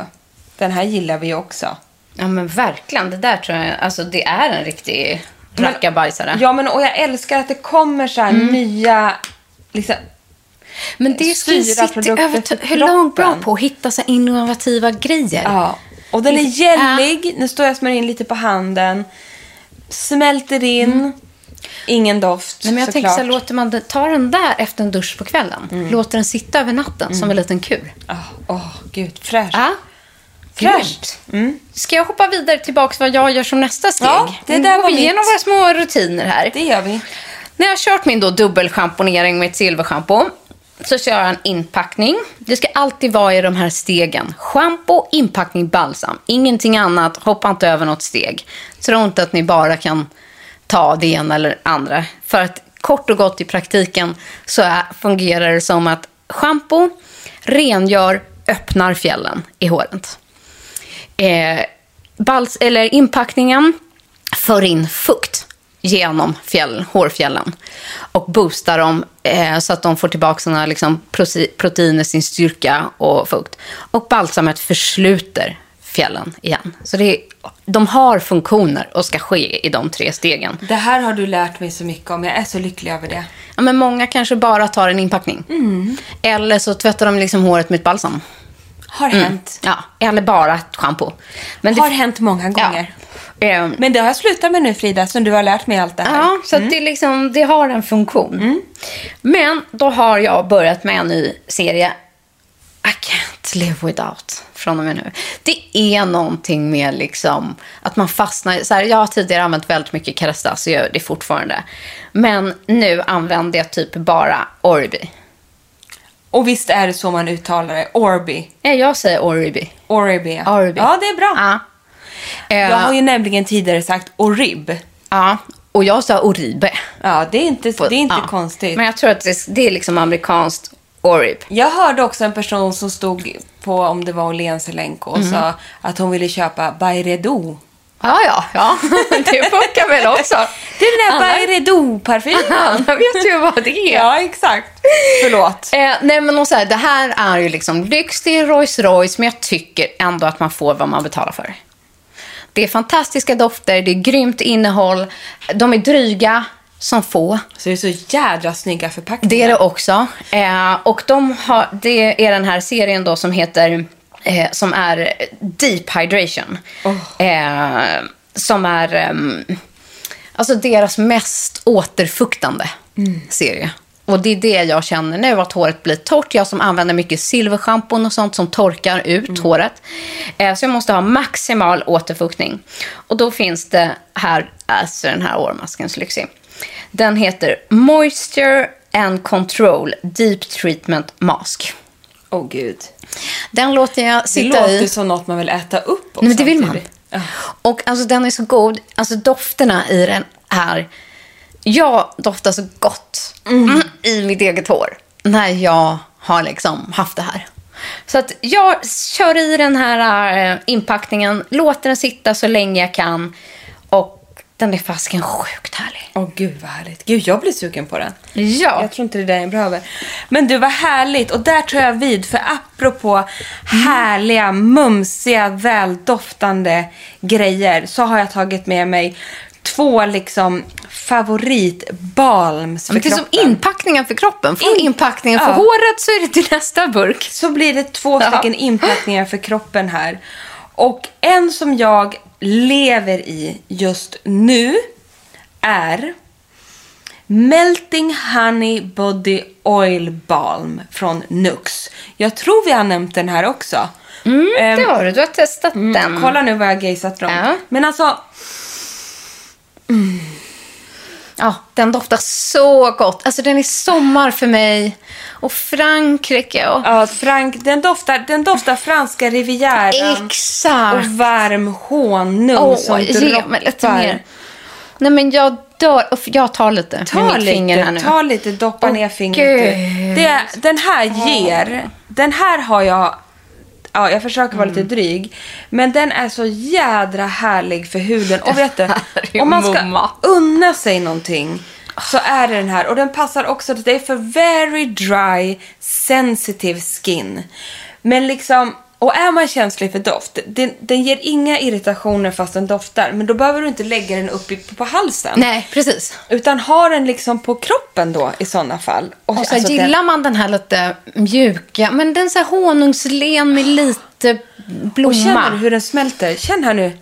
B: Den här gillar vi ju också.
A: Ja, men verkligen. Det där tror jag, alltså det är en riktig rackabajsare.
B: Ja, men och jag älskar att det kommer så här
A: Mm.
B: nya... Liksom,
A: Men det är Skin
B: Syra
A: City
B: produkter
A: övertö-
B: för
A: hur långt bra
B: kroppen.
A: på att hitta så här innovativa grejer.
B: ja. Och den är
A: Visst,
B: gällig. Nu står jag och smörjer in lite på handen. Smälter in. Ingen doft,
A: Mm. Nej, men jag tänker så här,
B: såklart. Mm.
A: låter man den- ta den där efter en dusch på kvällen, låter den sitta över natten som en liten kur.
B: Åh, Ah, åh, gud. Fräscht.
A: Ja.
B: Fräscht.
A: Ska jag hoppa vidare tillbaka vad jag gör som nästa steg?
B: Ja, det där
A: går
B: var
A: vi
B: mitt.
A: igenom våra små rutiner här.
B: Det gör vi.
A: När jag har kört min då dubbelschamponering med ett silverschampo så kör jag en inpackning. Det ska alltid vara i de här stegen. Schampo, inpackning, balsam. Ingenting annat. Hoppa inte över något steg. Tro inte att ni bara kan ta det ena eller andra. För att kort och gott i praktiken så är, fungerar det som att schampo rengör, öppnar fjällen i håret eh, bals, eller inpackningen för in fukt genom fjäll, hårfjällen och boostar dem eh, så att de får tillbaka sina liksom, prosi- proteiner, sin styrka och fukt. Och balsamet försluter fjällen igen. Så det är, de har funktioner och ska ske i de tre stegen.
B: Det här har du lärt mig så mycket om. Jag är så lycklig över det.
A: Ja, men många kanske bara tar en inpackning.
B: Mm.
A: Eller så tvättar de liksom håret med ett balsam.
B: Har
A: Mm.
B: hänt.
A: Ja, eller bara ett schampo. Men det-
B: Har hänt många gånger.
A: Ja. Eh,
B: Men det har jag slutat med nu Frida, som du har lärt mig allt det här. Mm.
A: Ja, så att det, liksom, det har en funktion. Men då har jag börjat med en ny serie. I can't live without. Från och med nu. Det är någonting med liksom att man fastnar i- så här, Jag har tidigare använt väldigt mycket Kerastase så jag gör det fortfarande. Men nu använder jag typ bara Orbi.
B: Och visst är det så man uttalar det? Orbi.
A: Ja, jag säger Orbi.
B: Orbi.
A: Orbi.
B: Ja, det är bra.
A: Ja. Eh,
B: Jag har ju nämligen tidigare sagt orib.
A: ja. Och jag sa Oribe.
B: Ja, det är inte, det är inte
A: Ja.
B: konstigt.
A: Men jag tror att det, det är liksom amerikanskt Orib.
B: Jag hörde också en person som stod på, om det var Åhléns eller NK,
A: Mm.
B: och sa att hon ville köpa Bayredo.
A: Ja, ja, ja. Det funkar väl också.
B: Det är den där
A: Alla-
B: Bayredo-parfymen.
A: Alla vet ju vad det är.
B: ja, exakt. Förlåt.
A: Eh, nej, men och så här, det här är ju liksom lyx, det är Rolls Royce, men jag tycker ändå att man får vad man betalar för. Det är fantastiska dofter, det är grymt innehåll, de är dryga som få.
B: Så det är så jädra snygga förpackningar.
A: Det är det också. Eh, och de har, det är den här serien då som heter eh, som är Deep Hydration. Eh, som är ehm, alltså deras mest återfuktande serie. Och det är det jag känner nu, att håret blir torrt. Jag som använder mycket silverschampon och sånt som torkar ut håret. Eh, så jag måste ha maximal återfuktning. Och då finns det här, alltså den här årmaskens lyxig. Den heter Moisture and Control Deep Treatment Mask.
B: Åh gud.
A: Den låter jag
B: Det
A: sitta
B: låter
A: i.
B: som något man vill äta upp också.
A: Nej, men det vill man.
B: samtidigt.
A: Och alltså den är så god. Alltså dofterna i den är... Jag doftar så gott mm, i mitt eget hår när jag har liksom haft det här. Så att jag kör i den här eh, inpackningen, låter den sitta så länge jag kan Och den är fasken sjukt härlig.
B: Åh gud vad härligt. Gud jag blir sugen på den.
A: Ja.
B: Jag tror inte det där är en bra över. Men du vad härligt och där tror jag vid för apropå härliga, mumsiga, väldoftande grejer så har jag tagit med mig två liksom favoritbalms för
A: Men det är som
B: kroppen.
A: inpackningen för kroppen. Från
B: In-
A: inpackningen för
B: Mm. Ja.
A: håret så är det till nästa burk.
B: så blir det två
A: Ja.
B: stycken inpackningar för kroppen här. Och en som jag lever i just nu är Melting Honey Body Oil Balm från Nux. Jag tror vi har nämnt den här också.
A: Mm.
B: Ehm,
A: Det har du. Du har testat den.
B: Kolla nu vad jag gejsat runt.
A: Ja.
B: Men alltså,
A: Ja, den doftar så gott. Alltså den är sommar för mig. Och Frankrike och...
B: ja, Frank, den, doftar, den doftar franska rivieran.
A: Exakt.
B: Och varm honung
A: Åh,
B: som
A: ge
B: droppar.
A: mig lite mer. Nej men jag dör. Uff, jag tar lite med
B: Ta
A: mitt finger här
B: lite,
A: nu.
B: ta lite, doppa
A: Åh,
B: ner fingret.
A: Gud.
B: i. Det, den här ger, den här har jag, ja jag försöker vara
A: Mm.
B: lite dryg, men den är så jädra härlig för huden. Och vet du,
A: här är
B: om man ska
A: mumma.
B: unna sig någonting så är det den här. Och den passar också, det är för very dry sensitive skin. Men liksom, och är man känslig för doft, den, den ger inga irritationer fast den doftar. Men då behöver du inte lägga den upp i, på halsen.
A: Nej, precis.
B: Utan har den liksom på kroppen då i sådana fall. Och
A: Och så
B: alltså,
A: gillar
B: den,
A: man den här lite mjuka, men den så här honungslen med lite
B: och känner du
A: blomma.
B: hur den smälter? Känn här nu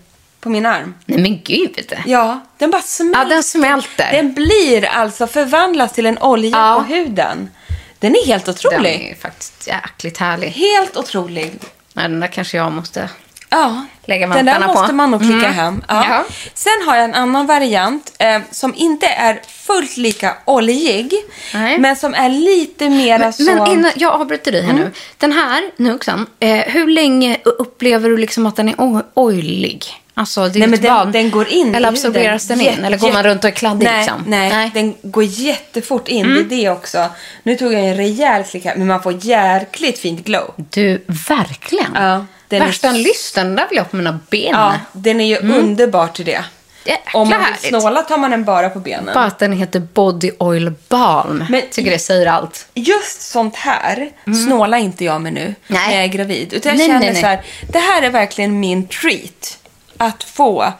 B: på min arm.
A: Nej men gud.
B: Ja, den bara smälter.
A: Ja, den smälter.
B: Den blir alltså förvandlas till en olja
A: Ja.
B: på huden. Den är helt
A: Den
B: otrolig.
A: är faktiskt jäkligt härlig.
B: Helt otrolig.
A: Nej, den där kanske jag måste...
B: Ja,
A: Lägga
B: den där
A: vantarna på.
B: måste man nog klicka
A: Mm.
B: hem. Ja.
A: Ja.
B: Sen har jag en annan variant eh, som inte är fullt lika oljig.
A: Nej.
B: Men som är lite mer
A: Men,
B: så... Mm.
A: men innan, jag avbryter dig här nu. Den här nuxen, eh, hur länge upplever du liksom att den är o- oilig? Alltså, det är
B: Nej,
A: ju
B: men
A: ett
B: den,
A: bad.
B: den går in
A: Eller
B: i huden.
A: absorberas den in?
B: Jätte-
A: eller går man runt och är kladdig?
B: nej,
A: liksom? Mm.
B: Nej, den går jättefort in. Det är det också. Nu tog jag en rejäl klick här, men man får jäkligt fint glow.
A: Du, verkligen.
B: Ja, den är-
A: Värsta lysten, den där vill jag ha på mina ben.
B: Ja, den är ju underbar till det.
A: Mm. Jäkla
B: Om man
A: härligt.
B: vill snåla tar man den bara på benen.
A: Bara att den heter Body Oil Balm.
B: Men-
A: Tycker det säger allt.
B: Just sånt här snålar inte jag med nu
A: Mm. Nej.
B: när jag är gravid. Utan jag
A: Nej,
B: känner
A: nej, nej.
B: så här, det här är verkligen min treat. Att få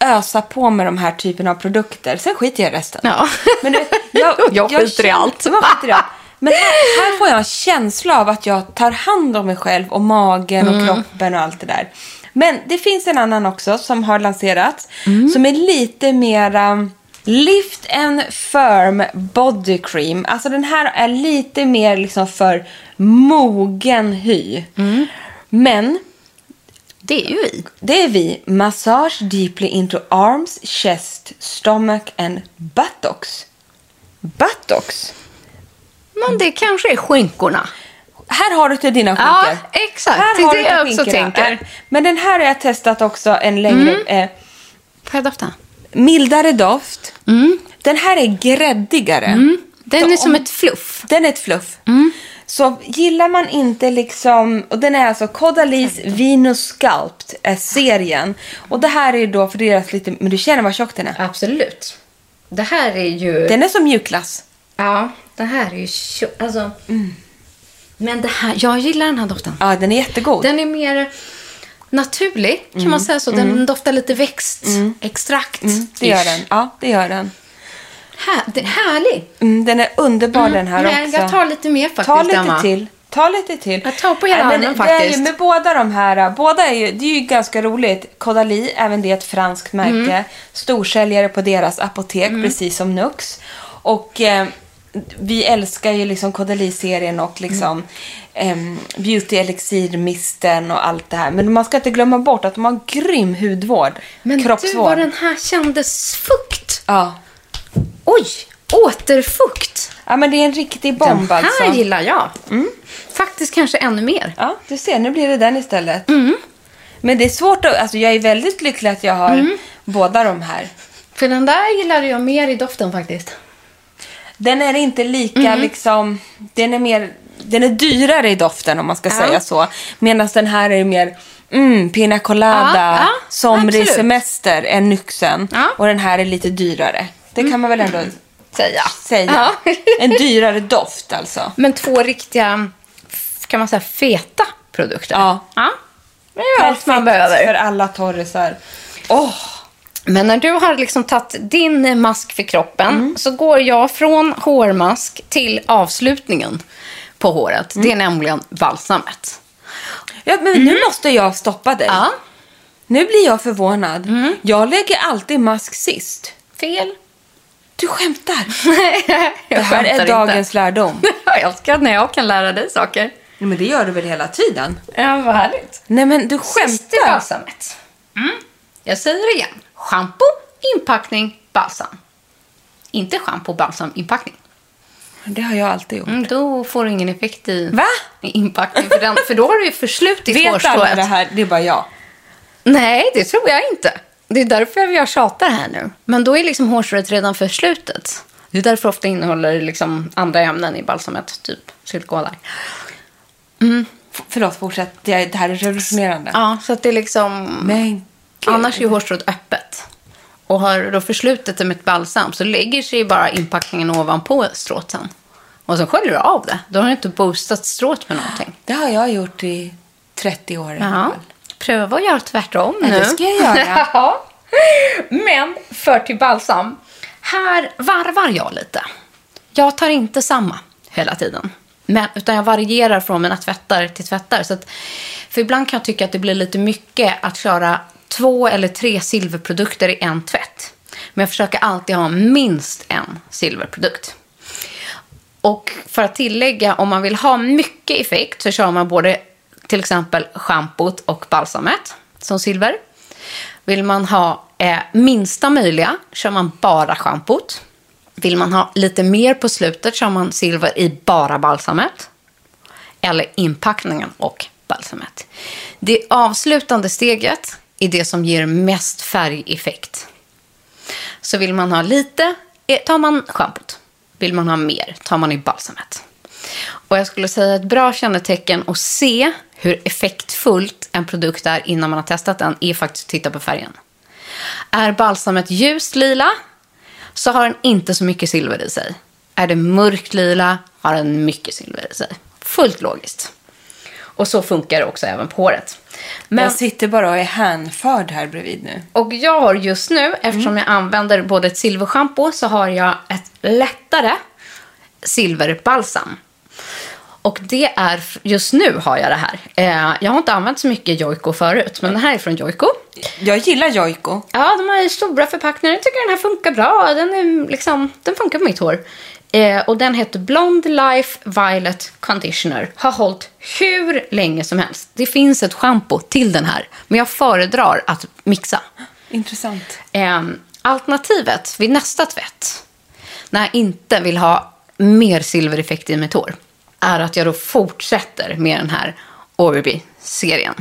B: ösa på med de här typen av produkter. Sen skiter jag i resten.
A: Ja.
B: Men du, vet, jag,
A: Jag skiter i
B: känner-
A: allt.
B: Man skiter i allt. Men här, här får jag en känsla av att jag tar hand om mig själv och magen och
A: Mm.
B: kroppen och allt det där. Men det finns en annan också som har lanserats
A: Mm.
B: som är lite mera um, Lift and firm body cream. Alltså den här är lite mer liksom för mogen hy.
A: Mm.
B: Men
A: Det är ju vi.
B: det är vi. Massage deeply into arms, chest, stomach and buttocks. Buttocks?
A: Men det kanske är skinkorna.
B: Här har du till dina
A: Ja,
B: skinkor.
A: exakt.
B: Här
A: Det är
B: har
A: det
B: du till
A: jag också
B: skinkorna.
A: tänker. Mm.
B: Eh, Men den här har jag testat också en längre... Eh,
A: Får jag dofta?
B: mildare doft.
A: Mm.
B: Den här är gräddigare.
A: Den
B: Så
A: är som
B: om-
A: ett fluff.
B: Den är ett fluff.
A: Mm.
B: Så gillar man inte liksom... Och den är alltså Caudalie Venus Sculpt är serien. Och det här är ju då för deras lite... Men du känner vad tjock den är.
A: Absolut. Det här är ju...
B: Den är som mjukglass.
A: Ja, det här är ju... tjo- Alltså...
B: Mm.
A: Men det här... Jag gillar den här doften.
B: Ja, den är jättegod.
A: Den är mer naturlig, kan
B: Mm.
A: man säga så. Den doftar lite växtextrakt. Mm.
B: Det gör den. Ja, det gör den.
A: Här, det, härlig.
B: Mm, den är underbar den här
A: Nej,
B: också.
A: jag tar lite mer faktiskt,
B: Ta lite
A: Emma.
B: till. Ta lite till.
A: Jag tar på hela
B: men
A: armen
B: Det är
A: faktiskt.
B: ju med båda de här, äh, båda är ju, det är ju ganska roligt. Caudalie, även det är ett franskt märke.
A: Mm.
B: Storsäljare på deras apotek, precis som Nux. Och eh, vi älskar ju liksom Caudalie-serien och liksom
A: Mm.
B: ehm, Beauty Elixir-misten och allt det här. Men man ska inte glömma bort att de har grym hudvård.
A: Men du,
B: kroppsvård.
A: vad den här kändes fukt.
B: Ja.
A: Oj, återfukt.
B: ja, men det är en riktig bomb
A: den här
B: alltså. Mm.
A: gillar jag. Faktiskt kanske ännu mer.
B: Ja, du ser. Nu blir det den istället.
A: Mm.
B: Men det är svårt att... Alltså jag är väldigt lycklig att jag har
A: Mm.
B: båda de här.
A: För den där gillade jag mer i doften faktiskt.
B: Den är inte lika
A: Mm.
B: liksom... Den är mer... Den är dyrare i doften om man ska
A: Ja.
B: säga så. Medan den här är mer Mm, pina colada,
A: Ja, ja,
B: somrig
A: absolut.
B: semester är Nuxen.
A: Ja.
B: Och den här är lite dyrare. Det kan man väl ändå
A: Säga.
B: säga.
A: Ja.
B: En dyrare doft alltså.
A: Men två riktiga, kan man säga, feta produkter.
B: Ja.
A: ja. Men det är allt man behöver.
B: för alla torrisar. Åh,
A: Men när du har liksom tagit din mask för kroppen
B: Mm.
A: så går jag från hårmask till avslutningen på håret. Det
B: Mm.
A: är nämligen balsamet.
B: ja, men nu måste jag stoppa dig.
A: Mhm. Ja. Mhm.
B: Nu blir jag förvånad. Jag lägger alltid mask sist.
A: Fel.
B: Du skämtar.
A: jag
B: Det här
A: skämtar
B: är
A: inte.
B: dagens lärdom.
A: jag älskar när jag kan lära dig saker.
B: Nej, men det gör du väl hela tiden?
A: Ja, vad härligt.
B: Nej, men du
A: Sist i
B: skämtar. alltså.
A: balsamet. Mm. Jag säger det igen. Shampoo, inpackning, balsam. Inte shampoo, balsam, inpackning.
B: Det har jag alltid gjort.
A: Mm, då får du ingen effekt i,
B: Va?
A: i inpackning. För, den, för då har du ju förslutit
B: Vet alla
A: hårstrået.
B: det här? Det är bara jag.
A: Nej, det tror jag inte. Det är därför jag tjatar här nu. Men då är liksom hårstrået redan förslutet. Det är därför ofta innehåller det liksom andra ämnen i balsamet, typ syltgålar.
B: F- Förlåt, fortsätt. Det det här är revolutionerande.
A: Ja, så att det är liksom...
B: Men gud.
A: Annars är ju hårstrået öppet. Och har du då förslutet det med ett balsam så lägger sig ju bara inpackningen ovanpå strået sen. Och så sköljer du av det. Då har du inte boostat strået med någonting.
B: Det har jag gjort i 30 år i alla
A: Ja.
B: fall.
A: Pröva att göra tvärtom
B: Ja,
A: nu.
B: det ska jag göra.
A: ja. Men för till balsam. Här varvar jag lite. Jag tar inte samma hela tiden. Men, utan jag varierar från mina tvättar till tvättar. Så att, för ibland kan jag tycka att det blir lite mycket att köra två eller tre silverprodukter i en tvätt. Men jag försöker alltid ha minst en silverprodukt. Och för att tillägga, om man vill ha mycket effekt så kör man både till exempel schampot och balsamet som silver. Vill man ha eh, minsta möjliga kör man bara schampot. Vill man ha lite mer på slutet kör man silver i bara balsamet. Eller inpackningen och balsamet. Det avslutande steget är det som ger mest färgeffekt. Så vill man ha lite eh, tar man schampot. Vill man ha mer tar man i balsamet. Och jag skulle säga ett bra kännetecken att se hur effektfullt en produkt är innan man har testat den är faktiskt att titta på färgen. Är balsamet ljust lila så har den inte så mycket silver i sig. Är det mörkt lila har den mycket silver i sig. Fullt logiskt. Och så funkar det också även på håret. Men-
B: Jag sitter bara och är hänförd här bredvid nu.
A: och jag har just nu, eftersom jag använder både ett silverschampo, så har jag ett lättare silverbalsam. Och det är, just nu har jag det här. Eh, jag har inte använt så mycket Joico förut, men det här är från Joico.
B: Jag gillar Joico.
A: Ja, de har ju stora förpackningar. Jag tycker den här funkar bra. Den, är liksom, den funkar på mitt hår. Eh, och den heter Blonde Life Violet Conditioner. Har hållit hur länge som helst. Det finns ett schampo till den här, men jag föredrar att mixa.
B: Intressant.
A: Eh, alternativet vid nästa tvätt, när jag inte vill ha mer silvereffekt i mitt hår, är att jag då fortsätter med den här Orbi-serien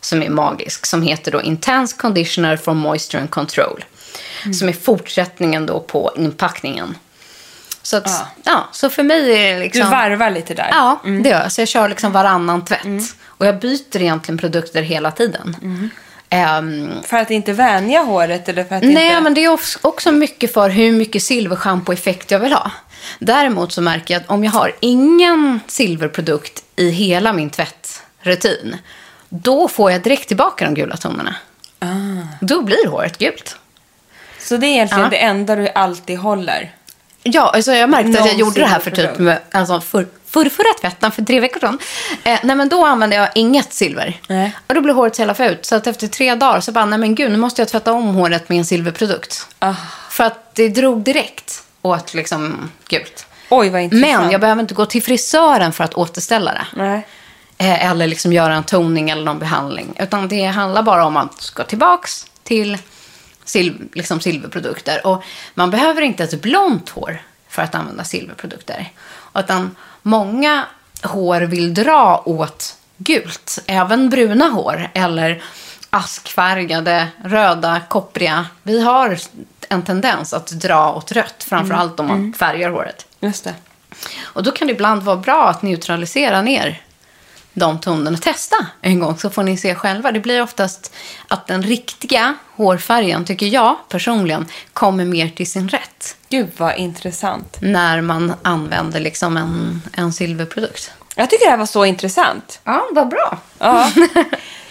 A: som är magisk, som heter då Intense Conditioner for Moisture and Control.
B: Mm.
A: Som är fortsättningen då på inpackningen. Så, att, ja. så för mig är det
B: Du
A: liksom...
B: varvar Mm. lite där.
A: Ja, det gör jag. Så jag kör liksom varannan tvätt. Och jag byter egentligen produkter hela tiden.
B: Mm.
A: Ehm,
B: För att inte vänja håret eller för att
A: Nej,
B: inte...
A: men det är ox- också mycket för hur mycket silverschampoeffekt jag vill ha. Däremot så märker jag att om jag har ingen silverprodukt i hela min tvättrutin, då får jag direkt tillbaka de gula tonerna.
B: Ah.
A: Då blir håret gult.
B: Så det är egentligen
A: Ja.
B: det enda du alltid håller.
A: Ja, alltså jag märkte att jag
B: Någon
A: gjorde det här för
B: silverprodukt.
A: typ med- alltså för, för förra tvätten, för tre veckor sedan. Eh, nej, men då använde jag inget silver.
B: Nej.
A: Och då blev håret så jävla fult. Så att efter tre dagar så bara, nej men gud, nu måste jag tvätta om håret med en silverprodukt.
B: Ah.
A: För att det drog direkt åt liksom gult.
B: Oj, vad intressant.
A: Men jag behöver inte gå till frisören för att återställa det.
B: Nej.
A: Eh, eller liksom göra en toning eller någon behandling. Utan det handlar bara om att gå tillbaks till sil- liksom silverprodukter. Och man behöver inte ett blont hår för att använda silverprodukter. Utan många hår vill dra åt gult. Även bruna hår eller askfärgade, röda, koppriga. Vi har en tendens att dra åt rött, framförallt om
B: Mm.
A: man färgar håret.
B: Just det.
A: Och då kan det ibland vara bra att neutralisera ner de tonerna. Testa en gång så får ni se själva. Det blir oftast att den riktiga hårfärgen, tycker jag personligen, kommer mer till sin rätt
B: Gud vad intressant.
A: när man använder liksom en, en silverprodukt.
B: Jag tycker det här var så intressant.
A: Ja, vad bra.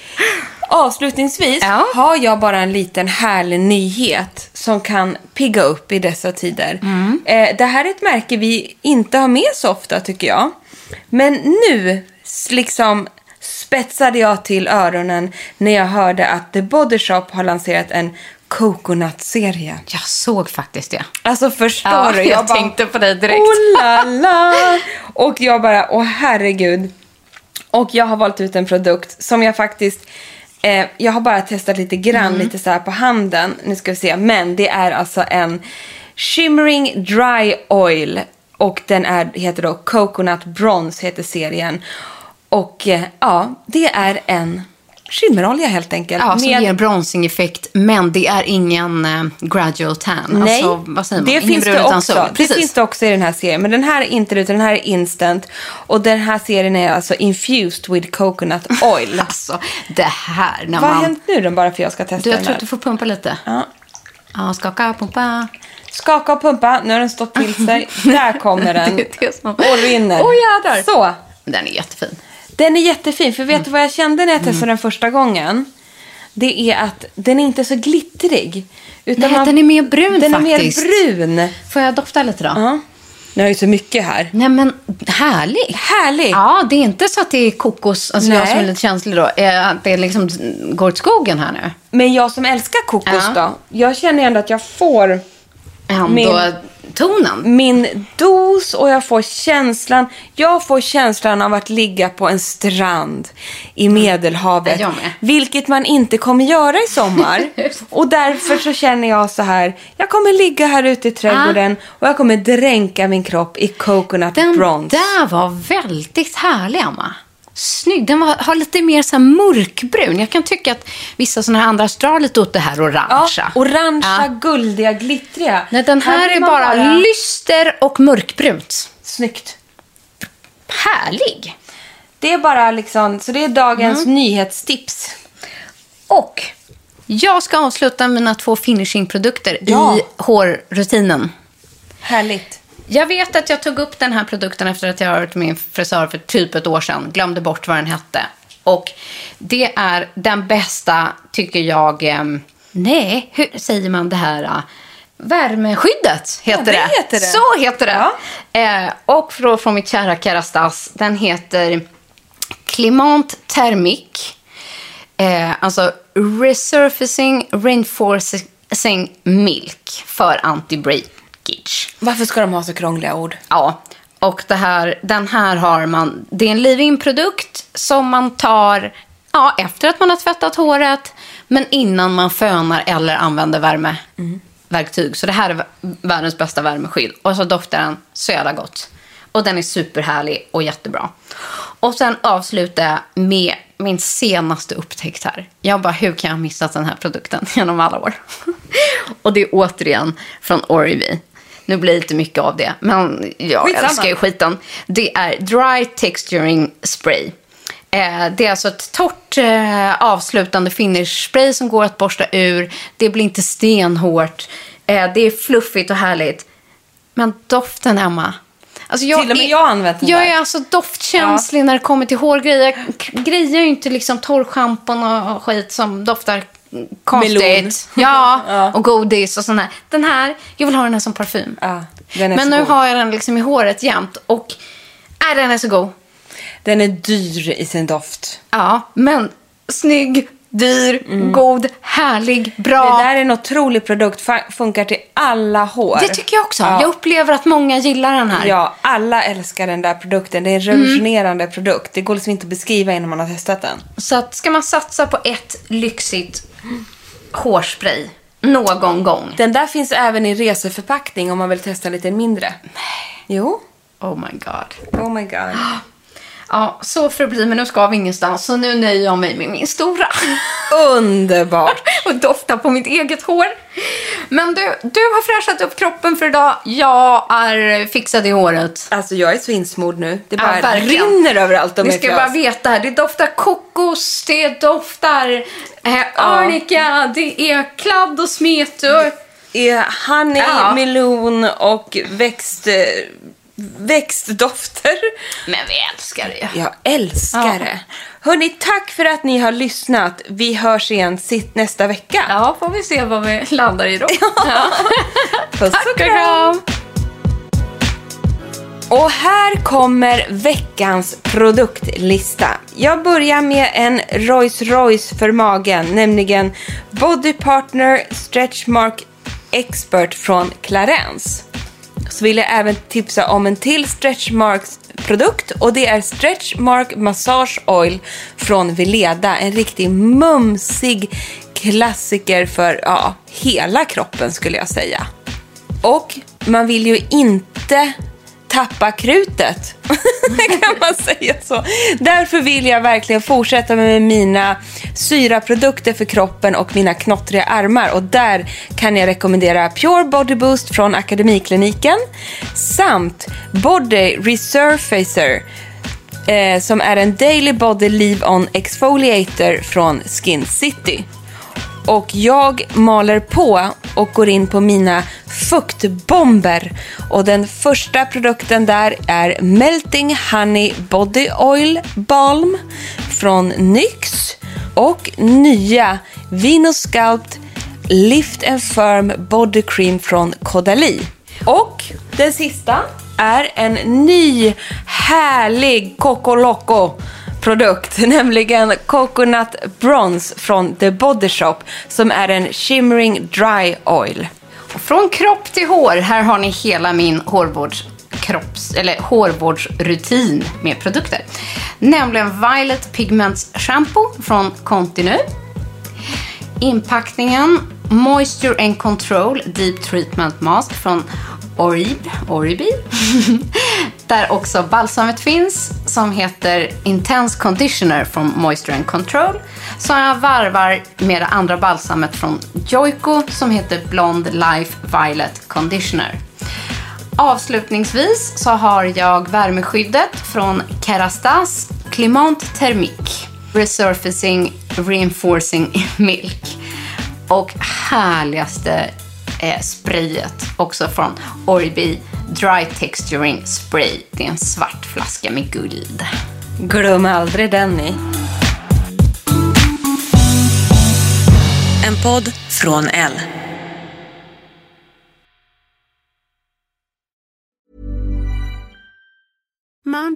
B: Ja. Avslutningsvis
A: Ja.
B: har jag bara en liten härlig nyhet som kan pigga upp i dessa tider.
A: Mm.
B: Eh, det här är ett märke vi inte har med så ofta tycker jag. Men nu s- liksom spetsade jag till öronen när jag hörde att The Body Shop har lanserat en coconut-serie.
A: Jag såg faktiskt det.
B: Alltså förstår
A: Ja,
B: du?
A: jag tänkte på dig direkt.
B: Oh la la. Och jag bara, åh herregud. Och jag har valt ut en produkt som jag faktiskt, eh, jag har bara testat lite grann,
A: Mm.
B: lite så här på handen. Nu ska vi se, men det är alltså en shimmering dry oil. Och den är, heter då Coconut Bronze, heter serien. Och eh, ja, det är en skimmerolja helt enkelt.
A: Ja, som
B: Med-
A: ger bronsing-effekt, men det är ingen eh, gradual tan.
B: Nej,
A: alltså, vad säger man?
B: det
A: ingen
B: finns
A: brun
B: det
A: utan
B: också.
A: sol.
B: Det
A: Precis.
B: finns det också i den här serien. Men den här är inte utan den här är instant. Och den här serien är alltså infused with coconut oil.
A: Alltså, det här när
B: Vad har
A: man...
B: hänt nu den bara för jag ska testa
A: Du, jag
B: den
A: tror
B: här?
A: att du får pumpa lite.
B: Ja.
A: Ja, skaka, pumpa.
B: Skaka och pumpa, nu har den stått till sig. Där kommer den.
A: Det är det som-
B: Och rinner.
A: Åh, jädrar.
B: Så.
A: Den är jättefin.
B: Den är jättefin, för vet du vad jag kände när jag
A: Mm.
B: testade den första gången? Det är att den är inte så glittrig. Utan
A: Nej, den är mer brun
B: Den
A: faktiskt.
B: är mer brun.
A: Får jag dofta lite då?
B: Ja. Nu har jag ju så mycket här.
A: Nej, men härlig.
B: Härlig!
A: Ja, det är inte så att det är kokos, alltså
B: Nej.
A: jag som är lite känslig då, eh, att det liksom går åt skogen här nu.
B: Men jag som älskar kokos
A: Ja.
B: då, jag känner ändå att jag får
A: Ändå tonen.
B: Mm, min dos och jag får känslan, jag får känslan av att ligga på en strand i Medelhavet.
A: Mm. Jag med.
B: Vilket man inte kommer göra i sommar. och därför så känner jag så här, jag kommer ligga här ute i trädgården och jag kommer dränka min kropp i coconut
A: Ah. Den
B: bronze.
A: där var väldigt härlig, Emma. Snygg. Den var, har lite mer så här mörkbrun. Jag kan tycka att vissa sådana här andra drar lite åt det här
B: Ja,
A: orangea.
B: orangea,
A: Ja.
B: guldiga, glittriga.
A: Nej, den här
B: vill
A: är
B: man
A: bara, lyster och mörkbrunt.
B: Snyggt.
A: Härlig!
B: Det är bara liksom, så det är dagens
A: Mm.
B: nyhetstips.
A: Och jag ska avsluta mina två finishingprodukter
B: Ja.
A: i hårrutinen.
B: Härligt.
A: Jag vet att jag tog upp den här produkten efter att jag har varit med min frisör för typ ett år sedan. Glömde bort vad den hette. Och det är den bästa, tycker jag... ehm, nej, hur säger man det här? eh, Värmeskyddet heter,
B: det heter det.
A: Så heter det. Eh, och från, från mitt kära Kerastas. Den heter Climant Thermic. Eh, alltså Resurfacing Reinforcing Milk för anti-breakage.
B: Varför ska de ha så krångliga ord?
A: Ja, och det här, den här har man. Det är en leave-in-produkt som man tar ja, efter att man har tvättat håret, men innan man fönar eller använder värmeverktyg. Så det här är v- världens bästa värmeskydd. Och så doftar den så jävla gott. Och den är superhärlig och jättebra. Och sen avslutar jag med min senaste upptäckt här. Jag bara, hur kan jag ha missat den här produkten genom alla år? och det är återigen från Orivi. Nu blir det inte mycket av det, men jag
B: Skitsamma.
A: älskar ju skiten. Det är Dry Texturing Spray. Eh, det är alltså ett torrt eh, avslutande finish-spray som går att borsta ur. Det blir inte stenhårt. Eh, det är fluffigt och härligt. Men doften, Emma. Alltså
B: Till och med jag har använt den
A: Jag
B: där.
A: är alltså doftkänslig när det kommer till hårgrejer. Jag k- grejer ju inte liksom torrschampon och och skit som doftar konstigt. Ja, och godis och sån här. Den här, jag vill ha den här som parfym.
B: Ja, den är
A: Men
B: så
A: nu
B: god.
A: har jag den liksom i håret jämt och äh, den är så god.
B: Den är dyr i sin doft.
A: Ja, men snygg, dyr, god, härlig, bra.
B: Mm. Det där är en otrolig produkt, fa- funkar till alla hår.
A: Det tycker jag också.
B: Ja.
A: Jag upplever att många gillar den här.
B: Ja, alla älskar den där produkten. Det är en revolutionerande produkt. Det går liksom inte att beskriva innan man har testat den.
A: Så att ska man satsa på ett lyxigt hårspray någon gång.
B: Den där finns även i reseförpackning om man vill testa lite mindre. Jo.
A: Oh my god.
B: Oh my god.
A: Ja, så förblir men nu ska vi ingenstans. Så nu nöjer jag mig med min stora.
B: Underbart.
A: och doftar på mitt eget hår. Men du, du har fräschat upp kroppen för idag. Jag är fixad i håret.
B: Alltså jag är så insmord nu. Det bara
A: verkligen.
B: rinner överallt om
A: Ni
B: mitt
A: ska
B: glas.
A: bara veta här. Det doftar kokos, det doftar eh, örnika, det är kladd och smet. Och,
B: är honey,
A: Ja.
B: melon och växt, eh, växtdofter.
A: men vi älskar det ju.
B: Jag älskar
A: Ja.
B: det. Hörni, tack för att ni har lyssnat. Vi hörs igen sitt nästa vecka.
A: Ja, får vi se vad vi landar i då. Ja.
B: Puss
A: Tack och kram!
B: Och här kommer veckans produktlista. Jag börjar med en Rolls Royce för magen, nämligen Body Partner Stretchmark Expert från Clarence. Så vill jag även tipsa om en till Stretchmarks produkt och det är Stretchmark Massage Oil från Veleda. En riktig mumsig klassiker för ja, hela kroppen skulle jag säga. Och man vill ju inte tappa krutet. kan man säga så. Därför vill jag verkligen fortsätta med mina syraprodukter för kroppen och mina knottriga armar. Och där kan jag rekommendera Pure Body Boost från Akademikliniken samt Body Resurfacer eh, som är en Daily Body Leave On Exfoliator från Skin City. Och jag maler på och går in på mina fuktbomber. Och den första produkten där är Melting Honey Body Oil Balm från NYX. Och nya Venus Sculpt Lift and Firm Body Cream från Caudalie. Och den sista är en ny härlig Coco Loco produkt, nämligen Coconut Bronze från The Body Shop som är en shimmering dry oil.
A: Och Från kropp till hår. Här har ni hela min hårvårds kropps, eller hårvårdsrutin med produkter. Nämligen Violet Pigments Shampoo från Continu. Inpackningen Moisture and Control Deep Treatment Mask från Orib, Oribi. Där också balsamet finns som heter Intense Conditioner från Moisture and Control. Som jag varvar med det andra balsamet från Joico som heter Blonde Life Violet Conditioner. Avslutningsvis så har jag värmeskyddet från Kerastas Climant Thermique Resurfacing Reinforcing Milk. Och härligaste eh, sprayet också från Orbi Dry Texturing Spray. Det är en svart flaska med guld.
B: Glöm aldrig den ni.
F: En podd från L.
G: Mom